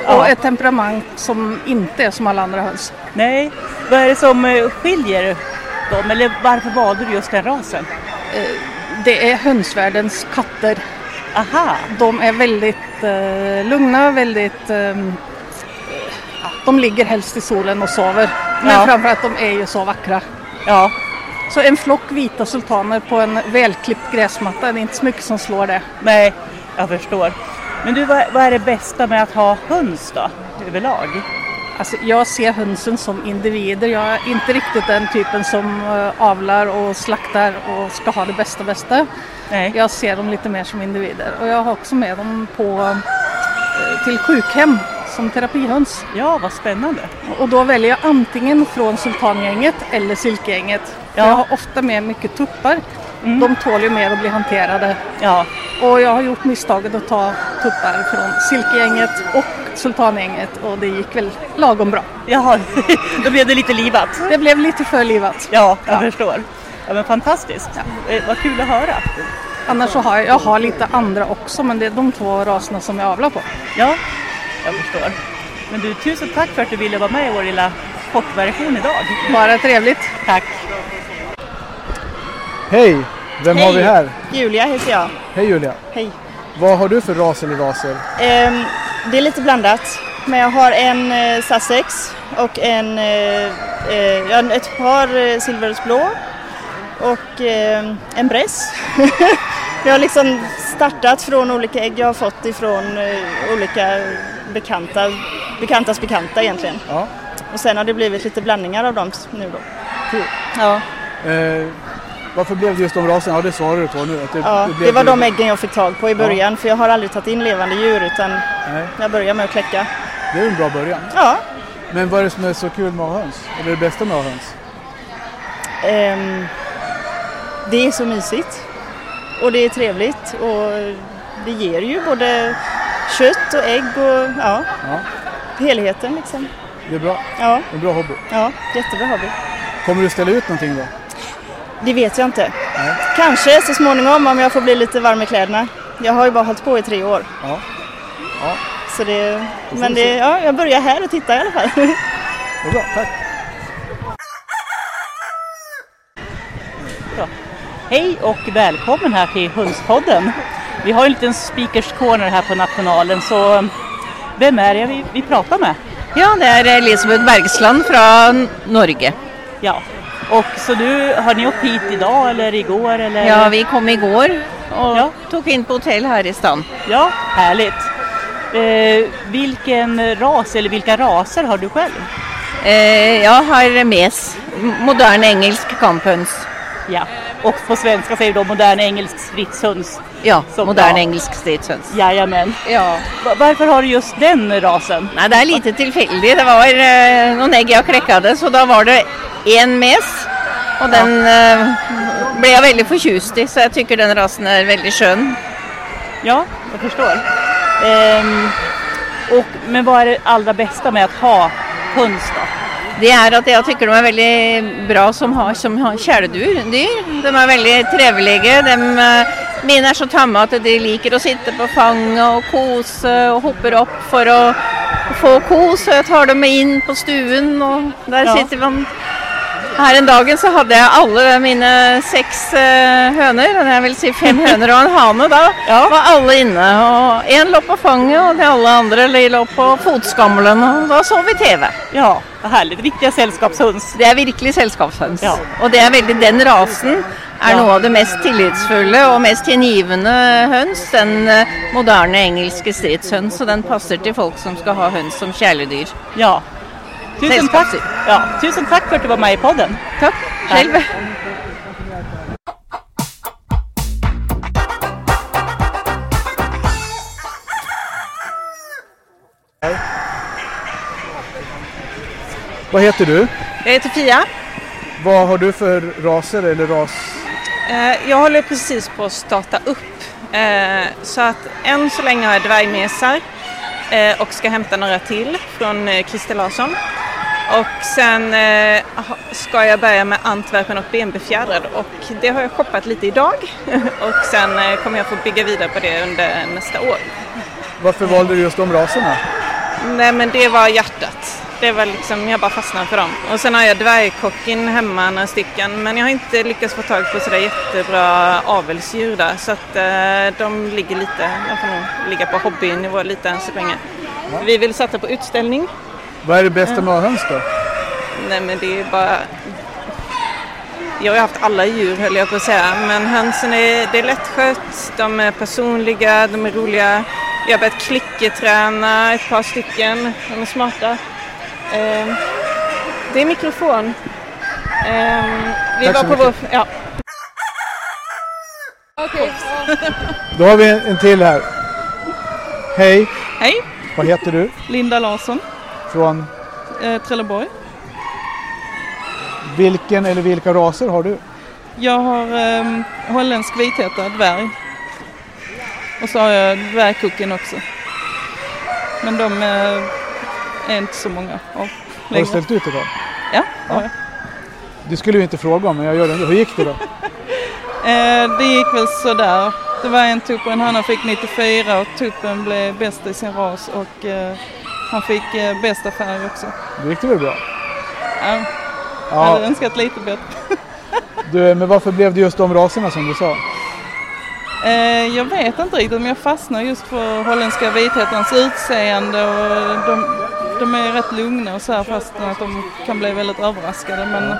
och
Ja.
ett temperament som inte är som alla andra höns.
Nej, vad är det som eh, skiljer dem? Eller varför valde du just den rasen?
Eh, Det är hönsvärldens katter.
Aha,
De är väldigt eh, lugna, väldigt... ehm, ja, de ligger helst i solen och sover. Men
Ja.
framförallt de är ju så vackra.
ja.
Så en flock vita sultaner på en välklippt gräsmatta, det är inte så mycket som slår det.
Nej, jag förstår. Men du, vad, vad är det bästa med att ha höns då, överlag?
Alltså, jag ser hönsen som individer. Jag är inte riktigt den typen som eh, avlar och slaktar och ska ha det bästa bästa.
Nej.
Jag ser dem lite mer som individer. Och jag har också med dem på, eh, till sjukhem som terapihöns.
Ja, vad spännande.
Och då väljer jag antingen från sultangänget eller silkegänget.
Ja. Mm.
För Jag har ofta med mycket tuppar. De tål ju mer att bli hanterade.
Ja,
Och jag har gjort misstaget att ta tuppar från silkegänget och sultangänget och det gick väl lagom bra.
jaha, då blev det lite livat.
Det blev lite för livat.
Ja, jag förstår. Ja, men fantastiskt. Eh, vad kul att höra.
Annars så har jag, jag har lite andra också men det är de två raserna som jag avlar på.
Ja, jag förstår. Men du, tusen tack för att du ville vara med i vår lilla kortversion idag.
Bara trevligt.
Tack.
Hej, vem har
Hej.
vi här?
Julia heter jag.
Hej Julia.
Hej.
Vad har du för ras eller raser?
Ehm, det är lite blandat. Men jag har en eh, Sussex och en, eh, eh, ja, ett par eh, Silvers blå och ehm, en Bress. jag har liksom startat från olika ägg jag har fått ifrån eh, olika bekanta, bekantas bekanta egentligen.
Ja.
Och sen har det blivit lite blandningar av dem nu då. Ja,
Eh, varför blev det just de raserna? Ja, det svarade du på nu. Att
ja,
blev
det var
ju-
de äggen jag fick tag på i början för jag har aldrig tagit in levande djur utan
Nej,
jag börjar med att kläcka.
det är ju en bra början.
Ja,
Men vad är det som är så kul med att ha höns? Eller det bästa med att ha höns?
Ehm, det är så mysigt och det är trevligt och det ger ju både kött och ägg och ja,
Ja.
helheten liksom.
Det är bra.
Ja,
En bra hobby.
ja, jättebra hobby.
Kommer du ställa ut någonting då?
Det vet jag inte. Kanske så småningom om jag får bli lite varm i kläderna. Jag har ju bara hållit på i tre år.
Ja. Ja.
Så det,
vi
men
se.
det, ja, jag börjar här och tittar i alla fall.
Det är bra, tack.
Hej och välkommen här till Hönspodden. Vi har en liten speakers corner här på Nationalen, så um, vem är det vi, vi pratar med?
Ja, det er Elisabeth Bergsland fra N- Norge.
Ja, och så du, har ni åkt hit idag eller igår? Eller?
Ja, vi kom i går og
Ja.
tok inn på hotell her i stand.
ja härligt. Eh, vilken ras eller vilka raser har du själv?
Eh, jeg har mes. M- Moderne engelsk kamphøns.
Ja, och på svenska säger de modern engelsk stridshöns.
Ja,
Så
moderne
bra.
engelsk stridshøns.
Jajamän.
Ja.
Va- Varför har du just den rasen?
Nei, det er lite tilfeldig. Det var eh, noen egg jeg klekka det, så da var det én mes. Og den eh, ble jeg veldig fortjust i, så jeg tykker den rasen er veldig skjønn.
Ja, jag förstår. Ehm, och, men vad är det allra bästa med att ha höns då?
Det er at jeg tykker de er veldig bra som har som har kjæledyr. Dyr. De er veldig trevelige. De, eh, mine er så tamme at de liker å sitte på fanget og kose og hopper opp for å få kos. Og jeg tar dem med inn på stuen, og der
Ja.
sitter man. Her en dagen så hadde jeg alle mine seks eh, høner, eller jeg vil si fem høner og en hane. Da var alle inne. og Én lå på fanget, og de alle andre lå på fotskammelen. Og da så vi TV.
Ja, vad härligt. Riktiga sällskapshöns.
Det er virkelig selskapshøns.
Ja.
Og det er veldig den rasen er noe av det mest tillitsfulle og mest hengivne høns. Den eh, moderne engelske stridshøns, og den passer til folk som skal ha høns som kjæledyr.
Ja. Tusen takk. Ja, tusen takk for at du var med i podden.
Takk. Selv.
Vad heter du?
Jag heter Pia.
Vad har du för raser eller ras?
Eh, Jag håller precis på att starta upp. Eh, Så att än så länge har jag dvärgmesar eh, och ska hämta några till från eh, Christer Larsson. Och sen eh, ha- ska jag börja med Antwerpen och benbefjädrad och det har jag shoppat lite idag. Och sen eh, kommer jag få bygga vidare på det under nästa år.
Varför valde du just de raserna?
Nej men det var hjärtat. Det var liksom, jag bara fastnade för dem. Och sen har jag dvärgkocken hemma, några stycken. Men jag har inte lyckats få tag på sådär jättebra avelsdjur där. Så att eh, de ligger lite, de får nog ligga på hobbynivå lite än så länge. Vi vill satsa på utställning.
Vad är det bästa med
Ja.
höns då?
Nej men det är bara... Jag har ju haft alla djur höll jag på att säga. Men hönsen är, det är lättskött, de är personliga, de är roliga. Jag har börjat klicketräna ett par stycken, de är smarta. Ehm, det är mikrofon. Ehm, vi
Tack
var
så
på vår...
mycket.
Ja.
Då har vi en, en till här. Hej,
Hej,
vad heter du?
Linda Larsson,
Från
eh, Trelleborg.
vilken eller vilka raser har du?
Jag har eh, holländsk vitheta, dvärg. Och så har jag dvärgkucken också. Men de eh, är inte så många av
Har du ställt ut idag?
Ja, det har jag.
Du skulle ju inte fråga om men jag gör det ändå. Hur gick det då?
Eh, det gick väl sådär. Det var en tupp och en hanna fick 94 och tuppen blev bäst i sin ras och eh, han fick eh, bästa färg också.
Då gick det väl bra?
Ja.
Ja.
Jag hade önskat lite bättre.
Du, men varför blev det just de raserna som du sa?
Eh, jag vet inte riktigt men jag fastnar just för holländska vithetens utseende och de, de är rätt lugna och så här fastän att de kan bli väldigt överraskade men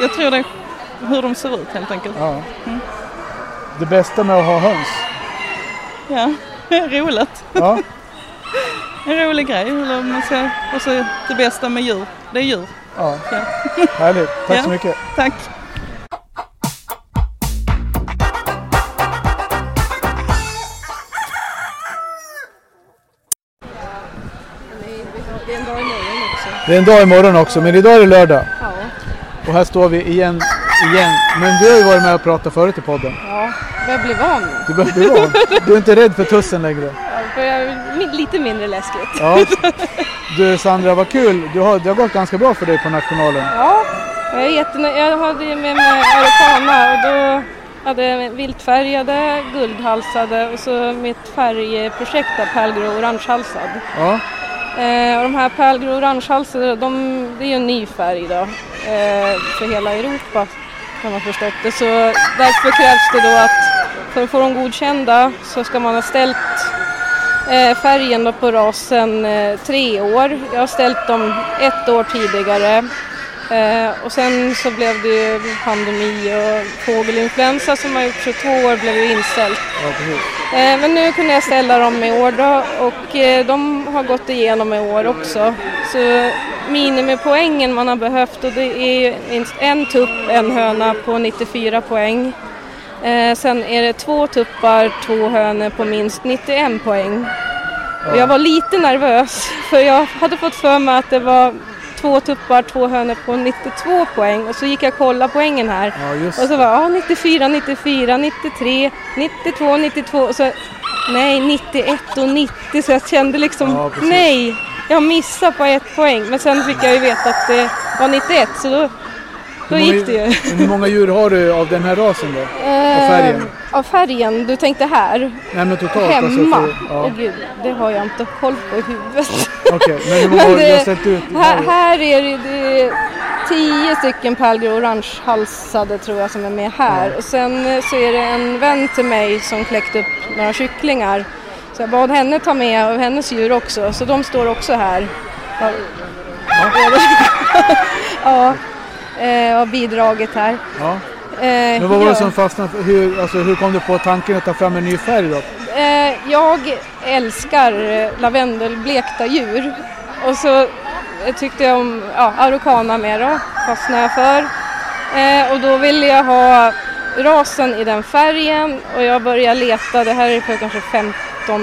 jag tror det är hur de ser ut helt enkelt.
Ja.
Mm.
Det bästa med att ha höns?
Ja, roligt.
Ja.
en rolig grej. Eller om man ska, och så det bästa med djur, det är djur.
Ja.
Ja.
Härligt, tack så
Ja.
mycket.
Tack.
Det är en dag imorgon också, men idag är det lördag.
Ja.
Och här står vi igen, igen. Men du har ju varit med och pratat förut i podden.
Ja, jag blir van nu.
Du behöver bli van. Du är inte rädd för tussen längre.
Det börjar bli lite mindre läskigt.
Ja. Du Sandra, vad kul. Du har, det har gått ganska bra för dig på nationalen.
Ja, jag, är jättenö- jag hade ju med mig Araucana och då hade jag viltfärgade, guldhalsade och så mitt färgprojekt där pärlgrå orangehalsad.
Ja.
Eh, och de här pärlgrå orangehalsade, de, det är ju en ny färg då eh, för hela Europa har man förstått det. Så därför krävs det då att för att få dem godkända så ska man ha ställt eh, färgen då på rasen eh, tre år. Jag har ställt dem ett år tidigare. Eh, och sen så blev det ju pandemi och fågelinfluensa som har gjort så två år blev ju inställt.
哦
Ja, precis.
Eh, men nu kunde jag ställa dem i år då och eh, de har gått igenom i år också. Så minimipoängen man har behövt och det är ju minst en tupp, en höna på 94 poäng. Eh, sen är det två tuppar, två hönor på minst 91 poäng. Och jag var lite nervös för jag hade fått för mig att det var två tuppar, två hönor på 92 poäng och så gick jag och kollade poängen här.
Ja, just
och
det.
så var "Ah, ja, 94, 94, 93, 92, 92 och så nej 91 och 90 så jag kände liksom
Ja, precis.
nej, jag missar på ett poäng. Men sen fick jag ju veta att det var 91 så då, då
Hur många-
gick det ju.
Hur många djur har du av den här rasen då? Av färgen?
Eh, Av färgen, du tänkte här?
Nej men totalt. alltså,
Hemma?
för- ja.
Åh gud, det har jag inte koll på i huvudet.
Okej, men hur många
Men
har du
det-
har ställt ut?
Här, här är det, det är tio stycken pärlgrå orangehalsade tror jag som är med här. Och sen eh, så är det en vän till mig som kläckt upp några kycklingar. Så jag bad henne ta med och hennes djur också, så de står också här. Ja, ja. Eh, och bidraget här.
Ja.
Eh,
Men vad var
gör-
det som fastnade? för- Hur, alltså, hur kom du på tanken att ta fram en ny färg då?
Eh, jag älskar eh, lavendelblekta djur. Och så eh, tyckte jag om ja, araucana mer då, fastnade jag för. Eh, och då ville jag ha rasen i den färgen och jag började leta, det här är för kanske 15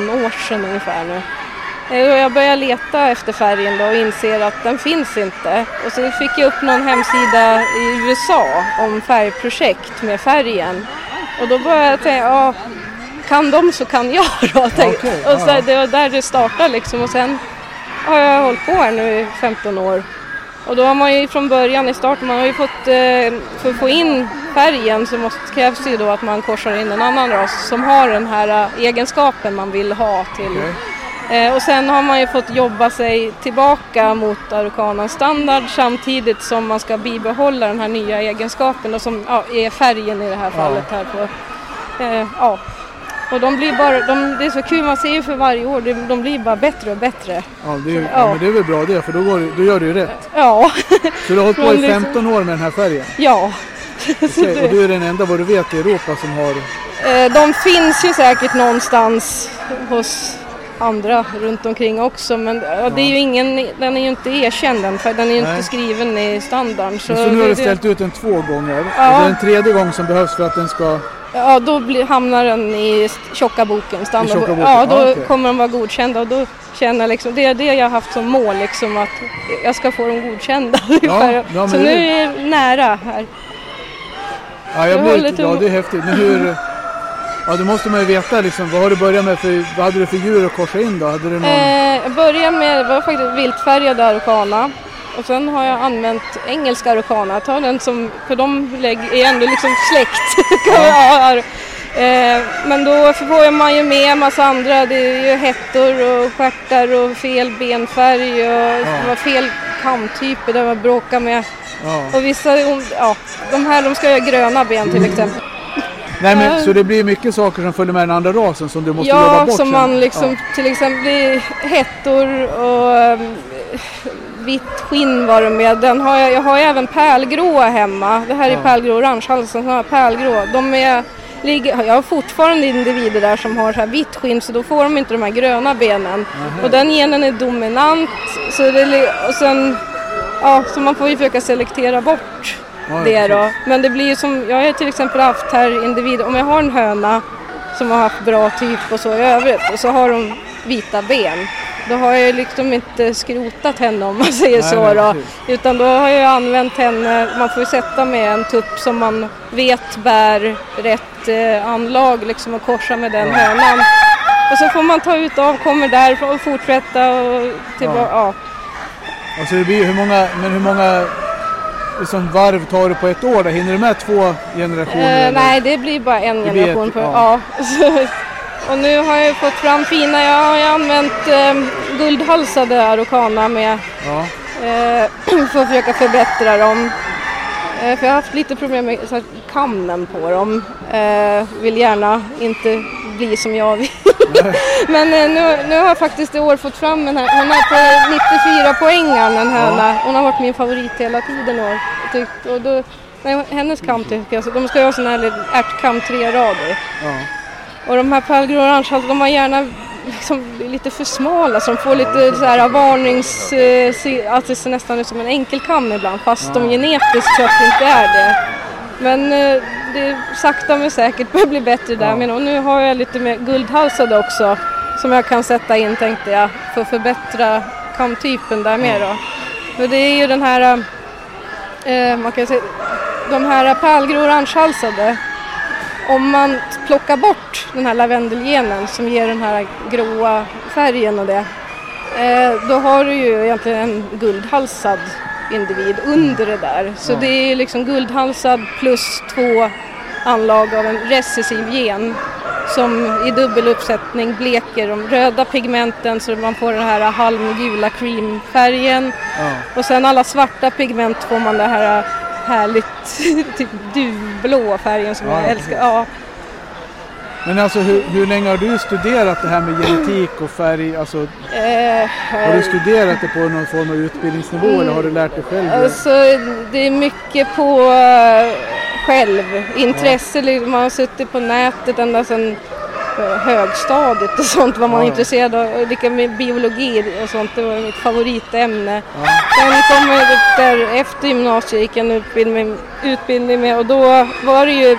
år sedan ungefär nu. Eh, och jag började leta efter färgen då och inser att den finns inte. Och så fick jag upp någon hemsida i USA om färgprojekt med färgen. Och då började jag tänka, ja, kan de så kan jag då. tänkte- och så,
ja.
det var där det startade liksom och sen har jag hållit på här nu i 15 år. Och då har man ju från början i starten, man har ju fått, eh, för att få in färgen så måste, krävs det ju då att man korsar in en annan ras som har den här eh, egenskapen man vill ha till. Eh, och sen har man ju fått jobba sig tillbaka mot Araucanans standard samtidigt som man ska bibehålla den här nya egenskapen och som ja, är färgen i det här
Ja.
fallet. Här på, eh, ja. Och de blir bara, de, det är så kul, man ser ju för varje år, de, de blir bara bättre och bättre.
Ja, det är, ju-
Ja.
ja, men det är väl bra det, för då, går, du- då gör du ju rätt.
Ja,
Så du har hållit på
Men
i
liksom-
15 år med den här färgen.
ja.
Och säg- och du är den enda vad du vet i Europa som har...
Eh, De finns ju säkert någonstans hos andra runt omkring också men ja, det är ju ingen, den är ju inte erkänd än för den är ju
Nej.
inte skriven i standarden.
Så,
Så,
nu
det-
har du
det-
ställt ut den två gånger.
Ja.
Och det är en tredje gång som behövs för att den ska...
Ja, då blir, hamnar den i st- tjocka boken. Standard.
I tjocka boken,
Ja, då
ah, okej.
kommer de vara godkända och då känner jag liksom, det är det jag har haft som mål liksom att jag ska få dem godkända. ungefär.
ja, men
så
det-
nu är jag nära här.
Ja,
Jag
jag
har
blir lite...
lite-
ja det är häftigt. Men hur... Ja, då måste man ju veta liksom, vad har du börjat med för... Vad hade du för djur att korsa in då? Hade du någon...
Eh, jag började med, det var faktiskt viltfärgad araucana. Och sen har jag använt engelska araucana. Jag tar den som, för de lägg, är ändå liksom släkt. kan man- ja. eh, men då får man ju med en massa andra. Det är ju hettor och stjärtar och fel benfärg och
Ja.
ja. fel kamtyper där man bråkar med.
Ja.
Och vissa, ja, de här de ska ju ha gröna ben till exempel.
Nej, men,
eh.
så det blir mycket saker som följer med den andra rasen som du måste jobba
Ja,
bort
som
sen.
man liksom
Ja.
till exempel i hettor och ehm, vitt skinn var det med. Den har jag, jag har ju även pärlgråa hemma. Det här är
Ja.
pärlgrå orangehalsen, sådana här pärlgrå. De är, ligger, jag har fortfarande individer där som har så här vitt skinn så då får de inte de här gröna benen.
Aha.
Och den genen är dominant. Så det, li- och sen, ja, så man får ju försöka selektera bort
Ja, ja,
det då.
precis.
Men det blir ju som, jag har till exempel haft här individer, om jag har en höna som har haft bra typ och så i övrigt och så har de vita ben. Då har jag ju liksom inte skrotat henne om man säger
Nej,
så
nej,
då.
precis.
Utan då har jag använt henne, man får ju sätta med en tupp som man vet bär rätt eh, anlag liksom och korsa med den
Ja.
hönan. Och så får man ta ut avkommor därifrån och fortsätta och tillbaka. Ja.
Alltså det blir, hur många, men hur många liksom, varv tar du på ett år? Då? Hinner du med två generationer?
Eh,
eller?
nej, det blir bara en
Det blir
generation.
ett-
På,
ja.
ja. Så- och nu har jag ju fått fram fina, jag har ju använt eh, guldhalsade araucana med
Ja.
eh, för att försöka förbättra dem. Eh, för jag har haft lite problem med så här, kamnen på dem. Eh, vill gärna inte bli som jag vill. Men eh, nu, nu har jag faktiskt i år fått fram en här. Hon är på 94 poängar en höna. Hon har varit min favorit hela tiden i år. tyckt. Och då, nej, hennes kam tycker jag, så de ska ju ha sån här liten ärtkam tre rader.
Ja.
Och de här pärlgrå och orange, alltså, de har gärna liksom lite för smala så de får lite så här varnings... eh, se- Alltså det ser nästan ut som en enkelkam ibland fast de genetiskt sett inte är det. Men eh, det sakta men säkert börjar bli bättre där. Men och nu har jag lite mer guldhalsade också som jag kan sätta in tänkte jag för att förbättra kamtypen där med då. För det är ju den här, eh, man kan säga, de här pärlgrå och orangehalsade om man plockar bort den här lavendelgenen som ger den här gråa färgen och det, eh, då har du ju egentligen en guldhalsad individ under det där. Så
Ja.
det är ju liksom guldhalsad plus två anlag av en recessiv gen som i dubbel uppsättning bleker de röda pigmenten så man får den här halmgula creamfärgen.
Ja.
Och sen alla svarta pigment får man det här äh, härligt typ duvblå färgen som
Ja,
jag
ja,
älskar. Ja.
Men alltså hur, hur länge har du studerat det här med genetik och färg? Alltså,
Eh,
har du studerat det på någon form av utbildningsnivå
Mm.
eller har du lärt dig själv?
Alltså, det är mycket på eh, själv. Intresse, liksom, man har suttit på nätet ända sedan eh, högstadiet och sånt var man
Ja, ja.
intresserad av. Lika med biologi och sånt, det var mitt favoritämne. Sen kom jag upp där efter gymnasiet gick jag en utbildning, utbildning med och då var det ju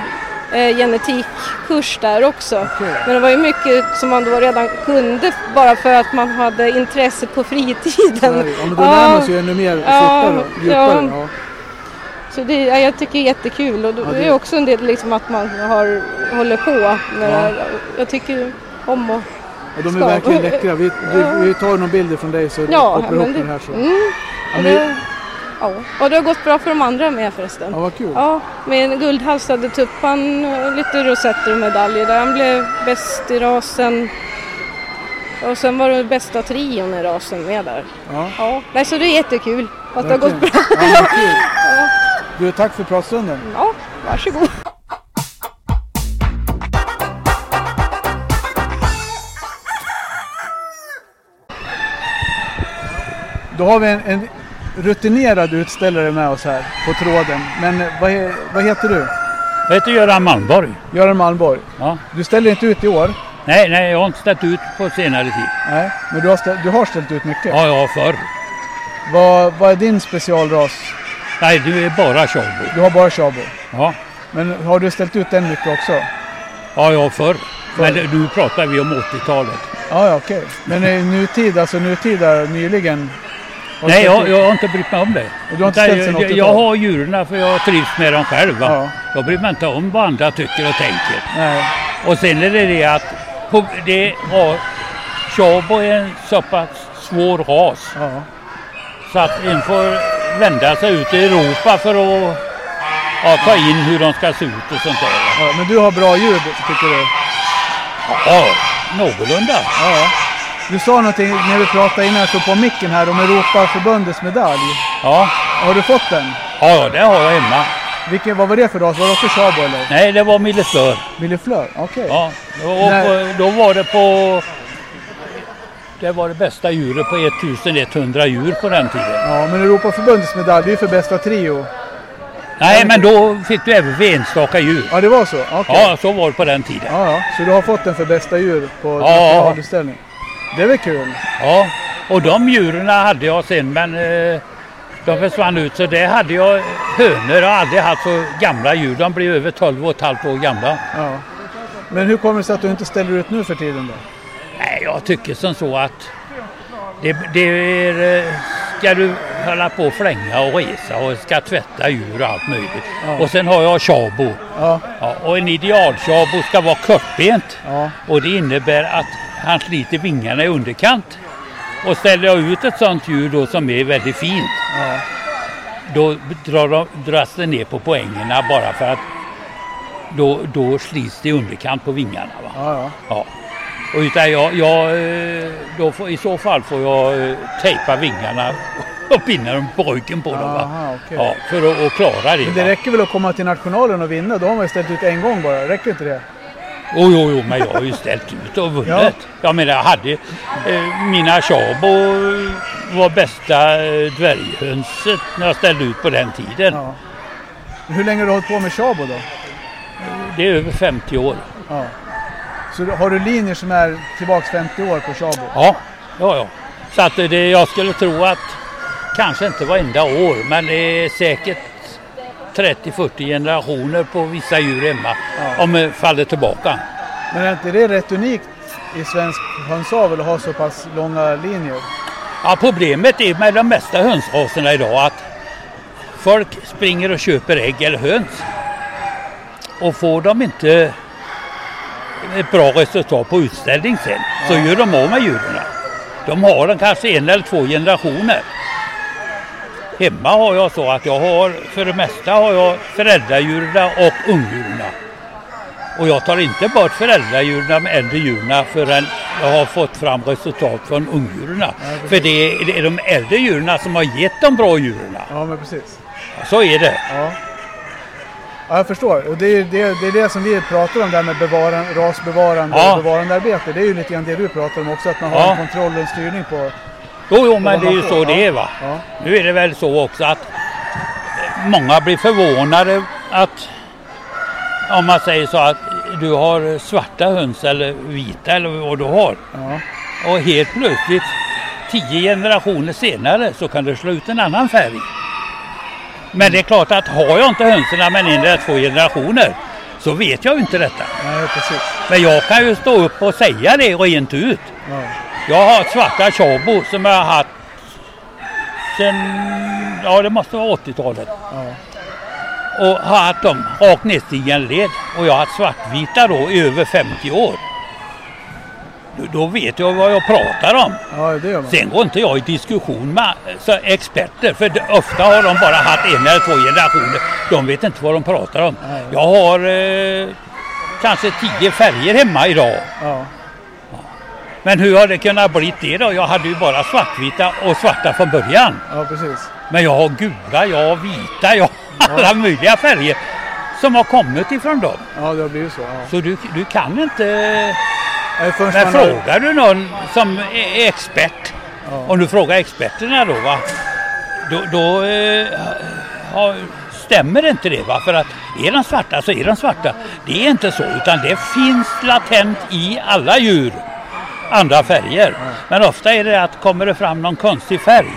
eh, genetikkurs där också. Men det var ju mycket som man då redan kunde bara för att man hade intresse på fritiden.
Ja, men då lär man sig ju ännu mer fortare och djupare. Ja.
Så det, ja, jag tycker det är jättekul och då
Ja,
det
det-
är också en del liksom att man har, håller på. Med det
Ja.
här. Jag tycker om att
Ja, de är verkligen läckra. Vi, vi, vi tar några bilder från dig så
Ja,
kopplar ihop
men det-
den här. Så.
Mm.
Ja, men-
det, ja. Och det har gått bra för de andra med förresten.
Ja, vad kul.
Ja, med en guldhalsade tuppan och lite rosetter och medaljer. Där han blev bäst i rasen. Och sen var det bästa trion i rasen med där.
Ja.
Ja. Nej, så det är jättekul att det har
Verkligen.
gått bra.
Ja, vad kul. Du, tack för pratstunden.
Ja, varsågod.
Då har vi en, en rutinerad utställare med oss här på tråden. Men eh, vad, he- vad heter du?
Jag heter Göran Malmborg.
Göran Malmborg.
Ja.
Du ställer inte ut i år?
Nej, nej, jag har inte ställt ut på senare tid.
Nej, men du har ställt, du har ställt ut mycket?
Ja, ja, förr.
Vad, vad är din specialras?
Nej, du är bara tjabo.
Du har bara shabo?
Ja.
Men har du ställt ut den mycket också?
Ja, ja, förr. Men nu pratar vi om 80-talet.
Ja, ja okej. Men i nutid, alltså nutida nyligen? har du
Nej,
ställt
jag,
ut-
jag har inte brytt mig om det.
Du har inte
Utan
ställt sen
jag, jag,
80-talet?
jag har djuren för jag trivs med dem själv. Va?
Ja.
Jag bryr mig inte om vad andra tycker och tänker.
Nej.
Och sen är det det att på, det har, Tjabo är en så pass svår ras. Så att en får vända sig ut i Europa för att ja, ta in hur de ska se ut och sånt där. va.
Ja, men du har bra ljud tycker du?
Ja, någorlunda.
Ja. Du sa någonting när vi pratade innan jag slog på micken här om Europaförbundets medalj.
Ja.
Har du fått den?
Ja, det har jag hemma.
Vilken, vad var det för ras? Var det också Tjabo eller?
Nej, det var Milleflör.
Milleflör? Okej.
Ja, och på, då var det på... Det var det bästa djuret på 1100 djur på den tiden.
Ja, men Europaförbundets medalj, det är ju för bästa trio.
Nej, men då fick du även för enstaka djur.
Ja, det var så? Okej.
Ja, så var det på den tiden.
Ja, ja. Så du har fått den för bästa djur på
Ja.
nationalutställning? Det är väl kul?
Ja, och de djuren hade jag sen, men eh, de försvann ut. Så det hade jag hönor. Jag har aldrig haft så gamla djur. De blev över 12 och ett halvt år gamla.
Ja. Men hur kommer det sig att du inte ställer ut nu för tiden då?
Nej, jag tycker som så att det, det är, eh, ska du hålla på och flänga och resa och ska tvätta djur och allt möjligt.
Ja.
Och sen har jag tjabo.
Ja.
Ja, och en idealtjabo ska vara kortbent.
Ja.
Och det innebär att han sliter vingarna i underkant. Och ställer jag ut ett sånt djur då som är väldigt fint,
Ja.
då drar de, dras det ner på poängerna bara för att då, då slits det i underkant på vingarna. Va?
Ja, ja.
Ja. Och utan jag, jag, eh, då får, I så fall får jag eh, tejpa vingarna och binda dem på ryggen på dem.
Aha,
Va?
okej.
Ja, för att, att klara det.
Men det
Va?
räcker väl att komma till nationalen och vinna? Då har man ju ställt ut en gång bara. Räcker inte det?
Jo, jo, jo, men jag har ju ställt ut och vunnit.
Ja.
Jag menar, jag hade eh, mina Tjabo var bästa eh, dvärghönset när jag ställde ut på den tiden.
Ja. Hur länge har du hållit på med Tjabo då?
Det är över 50 år.
Ja. Så har du linjer som är tillbaks 50 år på Tjabo?
Ja, ja, ja. Så att eh, det, jag skulle tro att kanske inte varenda år, men det är säkert 30-40 generationer på vissa djur hemma
Ja.
om det faller tillbaka.
Men är inte det rätt unikt i svensk hönsavel att ha så pass långa linjer?
Ja, problemet är med de mesta hönsraserna idag att folk springer och köper ägg eller höns och får de inte ett bra resultat på utställning sen så gör de av med djuren. De har den kanske en eller två generationer. Hemma har jag så att jag har för det mesta har jag föräldradjuren och ungdjuren. Och jag tar inte bort föräldradjuren med äldre djuren förrän jag har fått fram resultat från ungdjuren.
precis.
För det är, det är de äldre djuren som har gett de bra djuren.
Ja, men precis.
Så är det.
Ja. Ja, jag förstår. Och det är, ju det, det är det som vi pratar om där med bevaran, rasbevarande
Ja.
och bevarandearbete. Det är ju lite grann det du pratar om också, att man har
Ja.
en kontroll och en styrning på...
Jo, jo
på
men
vad
det är
man
ju
får.
så det är va.
Ja.
Nu är det väl så också att många blir förvånade att om man säger så att du har svarta höns eller vita eller vad du har. Och helt plötsligt tio generationer senare så kan du slå ut en annan färg. Men det är klart att har jag inte hönsen med en eller två generationer så vet jag ju inte detta.
Nej, precis.
Men jag kan ju stå upp och säga det rent ut.
Ja.
Jag har svarta Tjabo som jag har haft sen, ja det måste vara 80-talet.
Ja.
Och har haft dem rakt nedstigande led. Och jag har haft svartvita då i över 50 år. Då, då vet jag vad jag pratar om.
Ja, det gör man.
Sen går inte jag i diskussion med eh, så experter för det- ofta har de bara haft en eller två generationer. De vet inte vad de pratar om. Jag har eh, kanske tio färger hemma idag.
Ja.
Men hur har det kunnat bli det då? Jag hade ju bara svartvita och svarta från början.
Ja, precis.
Men jag har gula, jag har vita, jag har alla möjliga färger som har kommit ifrån dem.
Ja, det har blivit så. Ja.
Så du, du kan inte...
förrän
Men
man har-
frågar du någon som är expert,
Ja.
om du frågar experterna då, va? då, då eh, ha, stämmer inte det. Va? För att är de svarta så är de svarta. Det är inte så, utan det finns latent i alla djur andra färger. Men ofta är det att kommer det fram någon konstig färg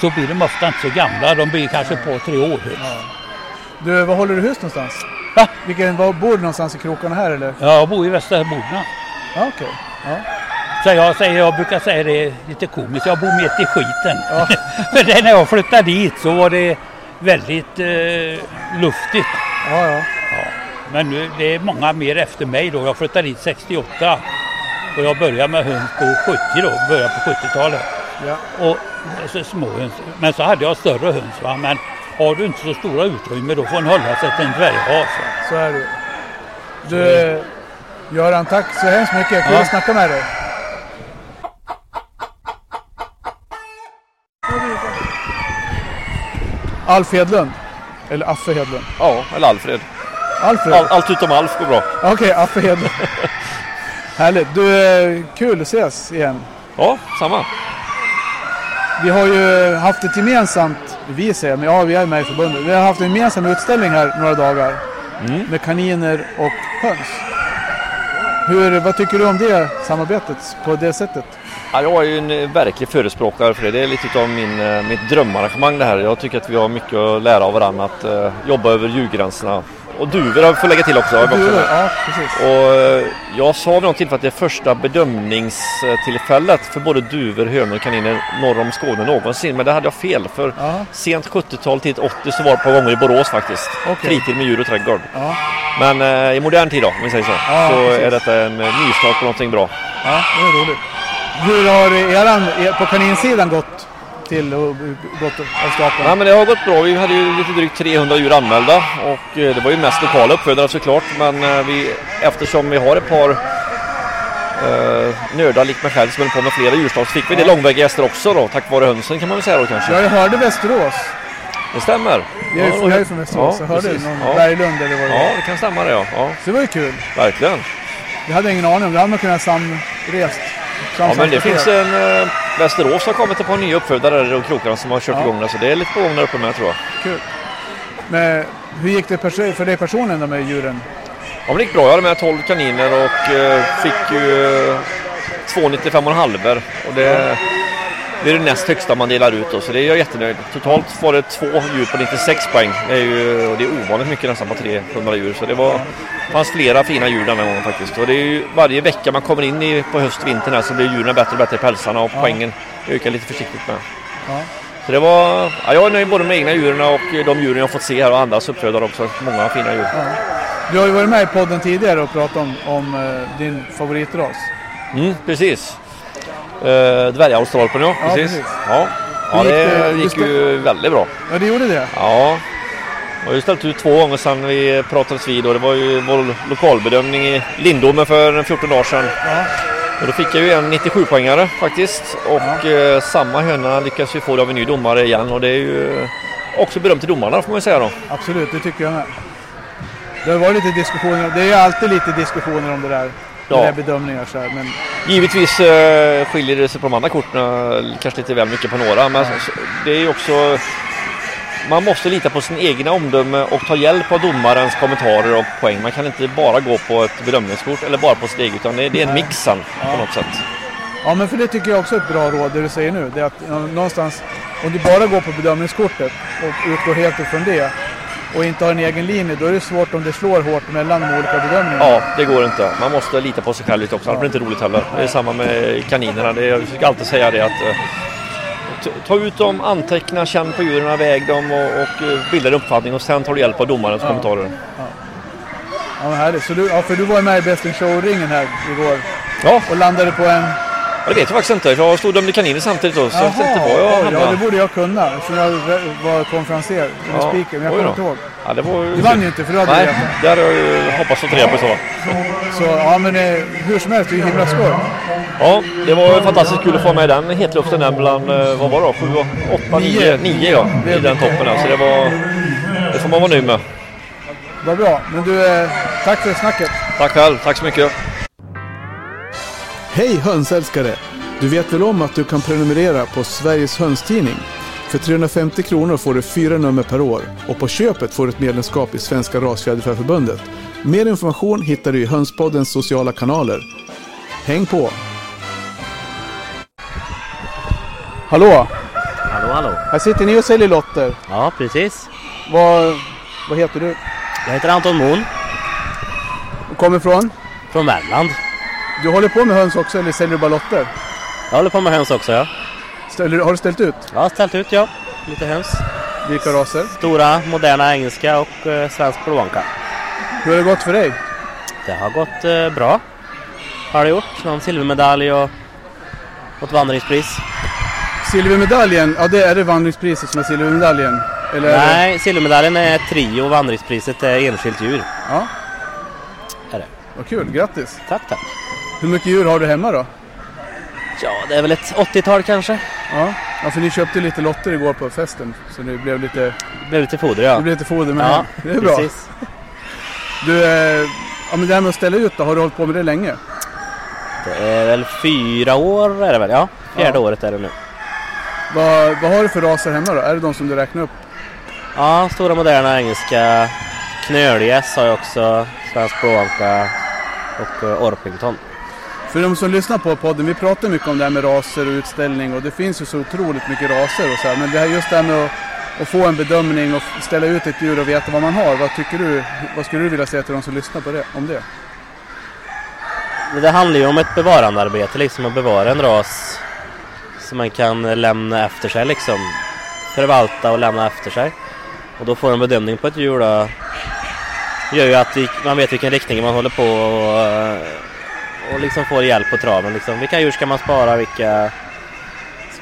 så blir de ofta inte så gamla. De blir kanske på tre år högst.
Du, var håller du hus någonstans? Vilken, var, bor du någonstans i krokarna här eller?
Ja, jag bor i Västra Bodna.
Ja, okej. Ja.
Så jag, säger, jag brukar säga det lite komiskt, jag bor mitt i skiten. För det- när jag flyttade dit så var det väldigt eh, luftigt.
Ja, ja.
Men nu, det är många mer efter mig då. Jag flyttade dit 68 och jag började med höns på 70 då, början på 70-talet.
Ja.
Och så små höns. Men så hade jag större höns. Va? Men har du inte så stora utrymme då får en hålla sig till en dvärghas.
Så är det Du, Göran, tack så hemskt mycket. Kul
Ja.
att snacka med dig. Alf Hedlund. Eller Affe Hedlund.
Ja, eller Alfred.
Alfred?
All, allt utom Alf går bra.
Okej, Affe Hedlund. Härligt. Du, eh, kul att ses igen.
Ja, samma.
Vi har ju haft ett gemensamt, vi säger, men ja vi är med i förbundet. Vi har haft en gemensam utställning här några dagar. Med kaniner och höns. Hur, vad tycker du om det samarbetet på det sättet?
Ja, jag är ju en eh, verklig förespråkare för det. Det är lite av min, eh, mitt drömarrangemang det här. Jag tycker att vi har mycket att lära av varandra att eh, jobba över djurgränserna. Och duvor har vi får lägga till också. har vi också
Du,
med.
ja, precis.
Och eh, jag sa vid något tillfälle att det är första bedömningstillfället för både duvor, hönor och kaniner norr om Skåne någonsin. Men det hade jag fel för
Ja.
sent 70-tal, tidigt 80 så var det ett par gånger i Borås faktiskt.
Okej.
Fritid med djur och trädgård.
Ja.
Men eh, i modern tid då, om vi säger så,
Ja,
så
precis.
är detta en eh, nystart på någonting bra.
Ja, det är roligt. Hur har eran er, på kaninsidan gått till och gått av stapeln?
Ja, men det har gått bra. Vi hade ju lite drygt 300 djur anmälda och eh, det var ju mest lokala uppfödare såklart. Men eh, vi, eftersom vi har ett par eh, nördar likt mig själv som höll på med flera djurslag så fick vi det långväga gäster också då, tack vare hönsen kan man väl säga då kanske.
Jag hörde Västerås.
Det stämmer.
Jag är
Ja,
ju
och-
jag är ju från Västerås.
ja,
jag hörde
precis.
någon
Ja.
Berglund eller vad det
Ja, det kan stämma det ja. ja.
Så det var ju kul.
Verkligen.
Jag hade ingen aning om. Det hade man kunnat samrest.
Ja, men det finns
samtransporterat.
en... eh, Västerås har kommit ett par nya uppfödare där och krokarna som har kört
Ja.
igång det, så det är lite på gång där uppe med tror jag.
Kul. Men hur gick det perso- för dig personligen då med djuren?
Ja, men det gick bra. Jag hade med 12 kaniner och eh, fick ju eh, 2,95,5 och det, det är det näst högsta man delar ut då, så det är jag jättenöjd. Totalt var det två djur på 96 poäng. Det är ju och det är ovanligt mycket nästan på 300 djur så det var, fanns flera fina djur den här gången faktiskt. Och det är ju varje vecka man kommer in i, på höst vintern här så blir djuren bättre och bättre i pälsarna och
Ja.
poängen ökar lite försiktigt med.
Ja.
Så det var, ja, jag är nöjd både med egna djuren och de djuren jag fått se här och andras uppfödare också. Många fina djur.
Du har ju varit med i podden tidigare och pratat om, om eh, din favoritras.
Mm, precis. Uh, Dvärgaustralpen ja,
Ja,
precis.
precis.
Ja, ja
Hur gick
det
det?
gick
Du
ju väldigt bra.
Ja, det gjorde det.
Ja, jag har ju ställt ut två gånger sedan vi pratades vid och det var ju vår lokalbedömning i Lindome för 14 dagar sedan.
Ja.
Och då fick jag ju en 97-poängare faktiskt och eh, samma höna lyckas ju få det av en ny domare igen och det är ju också beröm till domarna får man ju säga då.
Absolut, det tycker jag med. Det har varit lite diskussioner. Det är ju alltid lite diskussioner om det där.
Ja.
Det där bedömningar så här. Men
Givetvis eh, skiljer det sig på de andra korten, eh, kanske lite väl mycket på några, men s- det är ju också man måste lita på sin egna omdöme och ta hjälp av domarens kommentarer och poäng. Man kan inte bara gå på ett bedömningskort eller bara på sitt eget utan det, det är en
Nej.
mix sen
Ja.
på något sätt.
Ja, men för det tycker jag också är ett bra råd, det du säger nu. Det är att ja, någonstans, om du bara går på bedömningskortet och utgår helt ifrån det och inte har en egen linje, då är det svårt om det slår hårt mellan de olika bedömningarna.
Ja, det går inte. Man måste lita på sig själv lite också. Annars blir det inte roligt heller. Det är samma med kaninerna. Det är, jag försöker alltid säga det att eh, t- ta ut dem, anteckna, känn på djuren, väg dem och, och eh, bilda en uppfattning och sen tar du hjälp av domarens
Ja.
kommentarer.
Ja, men härligt. Så du, ja, för du var ju med i Best in Show-ringen här igår.
Ja.
Och landade på en...
Ja, det vet jag faktiskt inte. Jag stod och dömde kaniner samtidigt då, så jag vet inte var jag
oj, ja,
hamnade.
det borde jag kunna eftersom jag var konferenser eller
Ja,
speaker, men jag
oj
kommer
då.
inte ihåg.
Ja, det var...
Du vann ju inte, för du hade
Nej,
repat.
det hade jag ju hoppats fått reda på i så fall.
Så ja, men eh, hur som helst, det är ju himla skoj.
Ja, det var fantastiskt kul att få vara med i den hetluften där bland, eh, vad var det då, Sju, åtta, nio, nio ja, i den toppen där. Så det var, det får man vara nöjd med.
Vad bra. Men du, eh, tack för snacket.
Tack själv, tack så mycket.
Hej hönsälskare! Du vet väl om att du kan prenumerera på Sveriges Hönstidning? För 350 kronor får du fyra nummer per år och på köpet får du ett medlemskap i Svenska Rasfjäderfäförbundet. Mer information hittar du i Hönspoddens sociala kanaler. Häng på!
Hallå!
Hallå, hallå.
Här sitter ni och säljer lotter.
Ja, precis.
Vad, vad heter du?
Jag heter Anton Moon.
Kommer från?
Från Värmland.
Du håller på med höns också eller säljer du bara lotter?
Jag håller på med höns också, ja.
Ställer, har du ställt ut?
Jag har ställt ut, ja. Lite höns.
Vilka raser?
Stora, moderna engelska och eh, svensk blåanka.
Hur har det gått för dig?
Det har gått eh, bra. Har det gjort. Någon silvermedalj och, och ett vandringspris.
Silvermedaljen, ja det är det vandringspriset som är silvermedaljen? Eller är det-
Nej, silvermedaljen är trio och vandringspriset är enskilt djur.
Ja.
Är det.
Vad kul, grattis!
Tack, tack!
Hur mycket djur har du hemma då?
Ja, det är väl ett 80-tal kanske.
Ja. ja, för ni köpte lite lotter igår på festen så det blev lite...
Det blev lite foder, ja.
Det blev lite foder med
Ja,
hem. Det är bra.
precis.
Du, eh, ja men det här med att ställa ut då, har du hållit på med det länge?
Det är väl fyra år är det väl? Ja, fjärde året är det nu.
Vad, vad har du för raser hemma då? Är det de som du räknar upp?
Ja, stora moderna engelska. Knölgäss har jag också. Svensk blåanka och eh, orpington.
För de som lyssnar på podden, vi pratar mycket om det här med raser och utställning och det finns ju så otroligt mycket raser och så här. Men det här just det här med att, att få en bedömning och ställa ut ett djur och veta vad man har. Vad tycker du, vad skulle du vilja säga till de som lyssnar på det, om det?
Det handlar ju om ett bevarandearbete, liksom att bevara en ras som man kan eh, lämna efter sig, liksom. Förvalta och lämna efter sig. Och då får en bedömning på ett djur då. Gör ju att vi- man vet vilken riktning man håller på och, eh, och liksom får hjälp på traven. Liksom. Vilka djur ska man spara? Vilka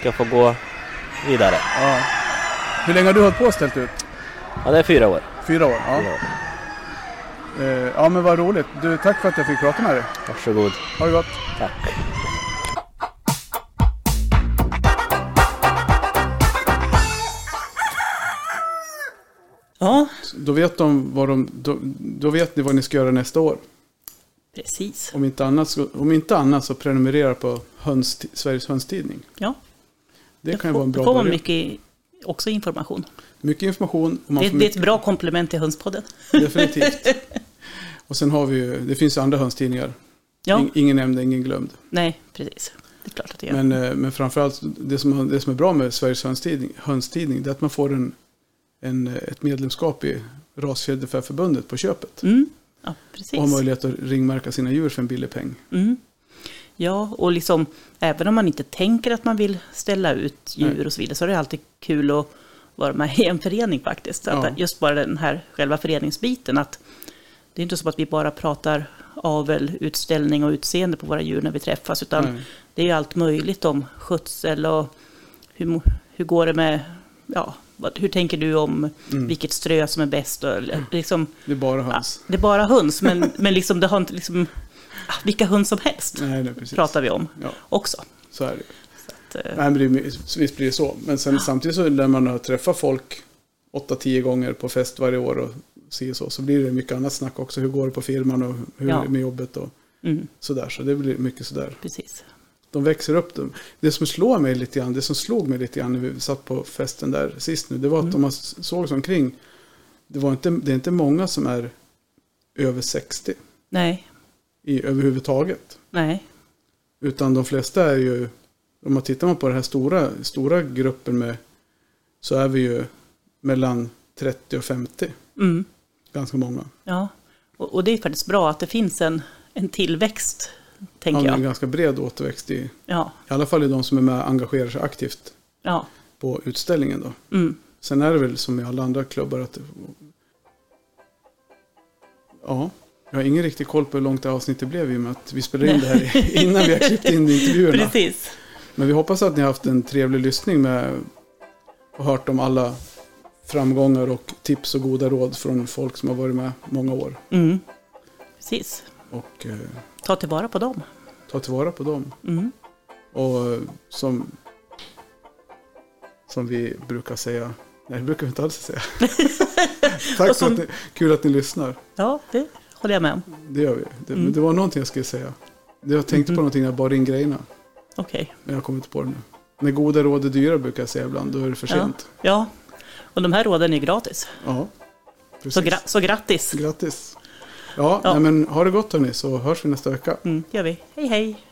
ska få gå vidare?
Ja. Hur länge har du hållit på och ställt ut?
Ja, det är fyra år.
Fyra år? Ja.
Fyra år.
Eh, ja men vad roligt. Du, tack för att jag fick prata med dig.
Varsågod.
Ha det gott.
Tack.
Ja.
Då vet, de vad de, då, då vet ni vad ni ska göra nästa år.
Precis.
Om inte annat så, om inte annat så prenumerera på höns, Sveriges Hönstidning.
Ja.
Det kan
får-
ju vara en
då
bra
får man
början.
mycket också information.
Mycket information. Och man
Det,
får
det är ett
mycket,
bra komplement till Hönspodden.
definitivt. Och sen har vi ju, det finns ju andra hönstidningar.
Ja.
In- Ingen nämnd, ingen glömd.
Nej, precis. Det är klart att det gör.
Men, eh, men framförallt, det som, det som är bra med Sveriges hönstidning, hönstidning det är att man får en, en, eh, ett medlemskap i Rasfjäderfäförbundet på köpet.
Mm. ja, precis.
Och har möjlighet att ringmärka sina djur för en billig peng.
Mm. Ja, och liksom, även om man inte tänker att man vill ställa ut djur
Nej.
och så vidare så är det alltid kul att vara med i en förening faktiskt. Så Att
Ja.
Just bara den här själva föreningsbiten. Att det är inte så att vi bara pratar avel, utställning och utseende på våra djur när vi träffas. Utan
Nej.
det är ju allt möjligt om skötsel och hur, mo- hur går det med, ja, vad, hur tänker du om
Mm.
vilket strö som är bäst? Och, eller liksom,
det är bara höns.
det är bara höns, men, men liksom, det har inte liksom, ah, vilka höns som helst
Nej, nej, precis.
pratar vi om också.
Så är det.
Så att, eh,
Nej, men det är, my- visst blir det så. Men sen, samtidigt så när man har träffat folk 8-10 gånger på fest varje år och si och så, så blir det mycket annat snack också. Hur går det på firman och hur
Ja.
är det med jobbet och
Mm.
sådär. Så det blir mycket sådär.
Precis.
de växer upp dem. Det som slår mig lite grann, det som slog mig lite grann när vi satt på festen där sist nu, det var
Mm.
att om man såg sig omkring, det, var inte, det är inte många som är över 60
Nej,
i, överhuvudtaget.
nej.
Utan de flesta är ju, om man tittar på den här stora, stora gruppen med, så är vi ju mellan 30 och 50.
Mm.
Ganska många.
Ja. Och, och det är faktiskt bra att det finns en, en tillväxt, tänker
Han har en
jag.
ganska bred återväxt i,
Ja.
i alla fall i de som är med och engagerar sig aktivt
Ja.
på utställningen. Då.
Mm.
Sen är det väl som i alla andra klubbar att... Ja, jag har ingen riktig koll på hur långt det här avsnittet blev i och med att vi spelade in det här i- innan vi har klippt in intervjuerna.
Precis.
Men vi hoppas att ni har haft en trevlig lyssning med och hört om alla framgångar och tips och goda råd från folk som har varit med många år.
Mm. Precis.
Och eh,
Ta tillvara på dem.
ta tillvara på dem.
Mm.
Och eh, som, som vi brukar säga, nej det brukar vi inte alls säga. Tack
Och som-
för att ni, kul att ni lyssnar.
Ja, det håller jag med om.
Det gör vi. Det,
Mm. Mm-hmm.
men det var någonting jag skulle säga. Det- Jag tänkte på någonting när jag bar in grejerna.
Okej.
Men jag kommer inte på det nu. När goda råd är dyra brukar jag säga ibland, då är det för
Ja.
sent.
ja. Och de här råden är gratis.
Ja.
Så, gra- så grattis.
Grattis. Ja, Nej, men ha det gott hörni, så hörs vi nästa vecka.
Mm, gör vi. Hej hej.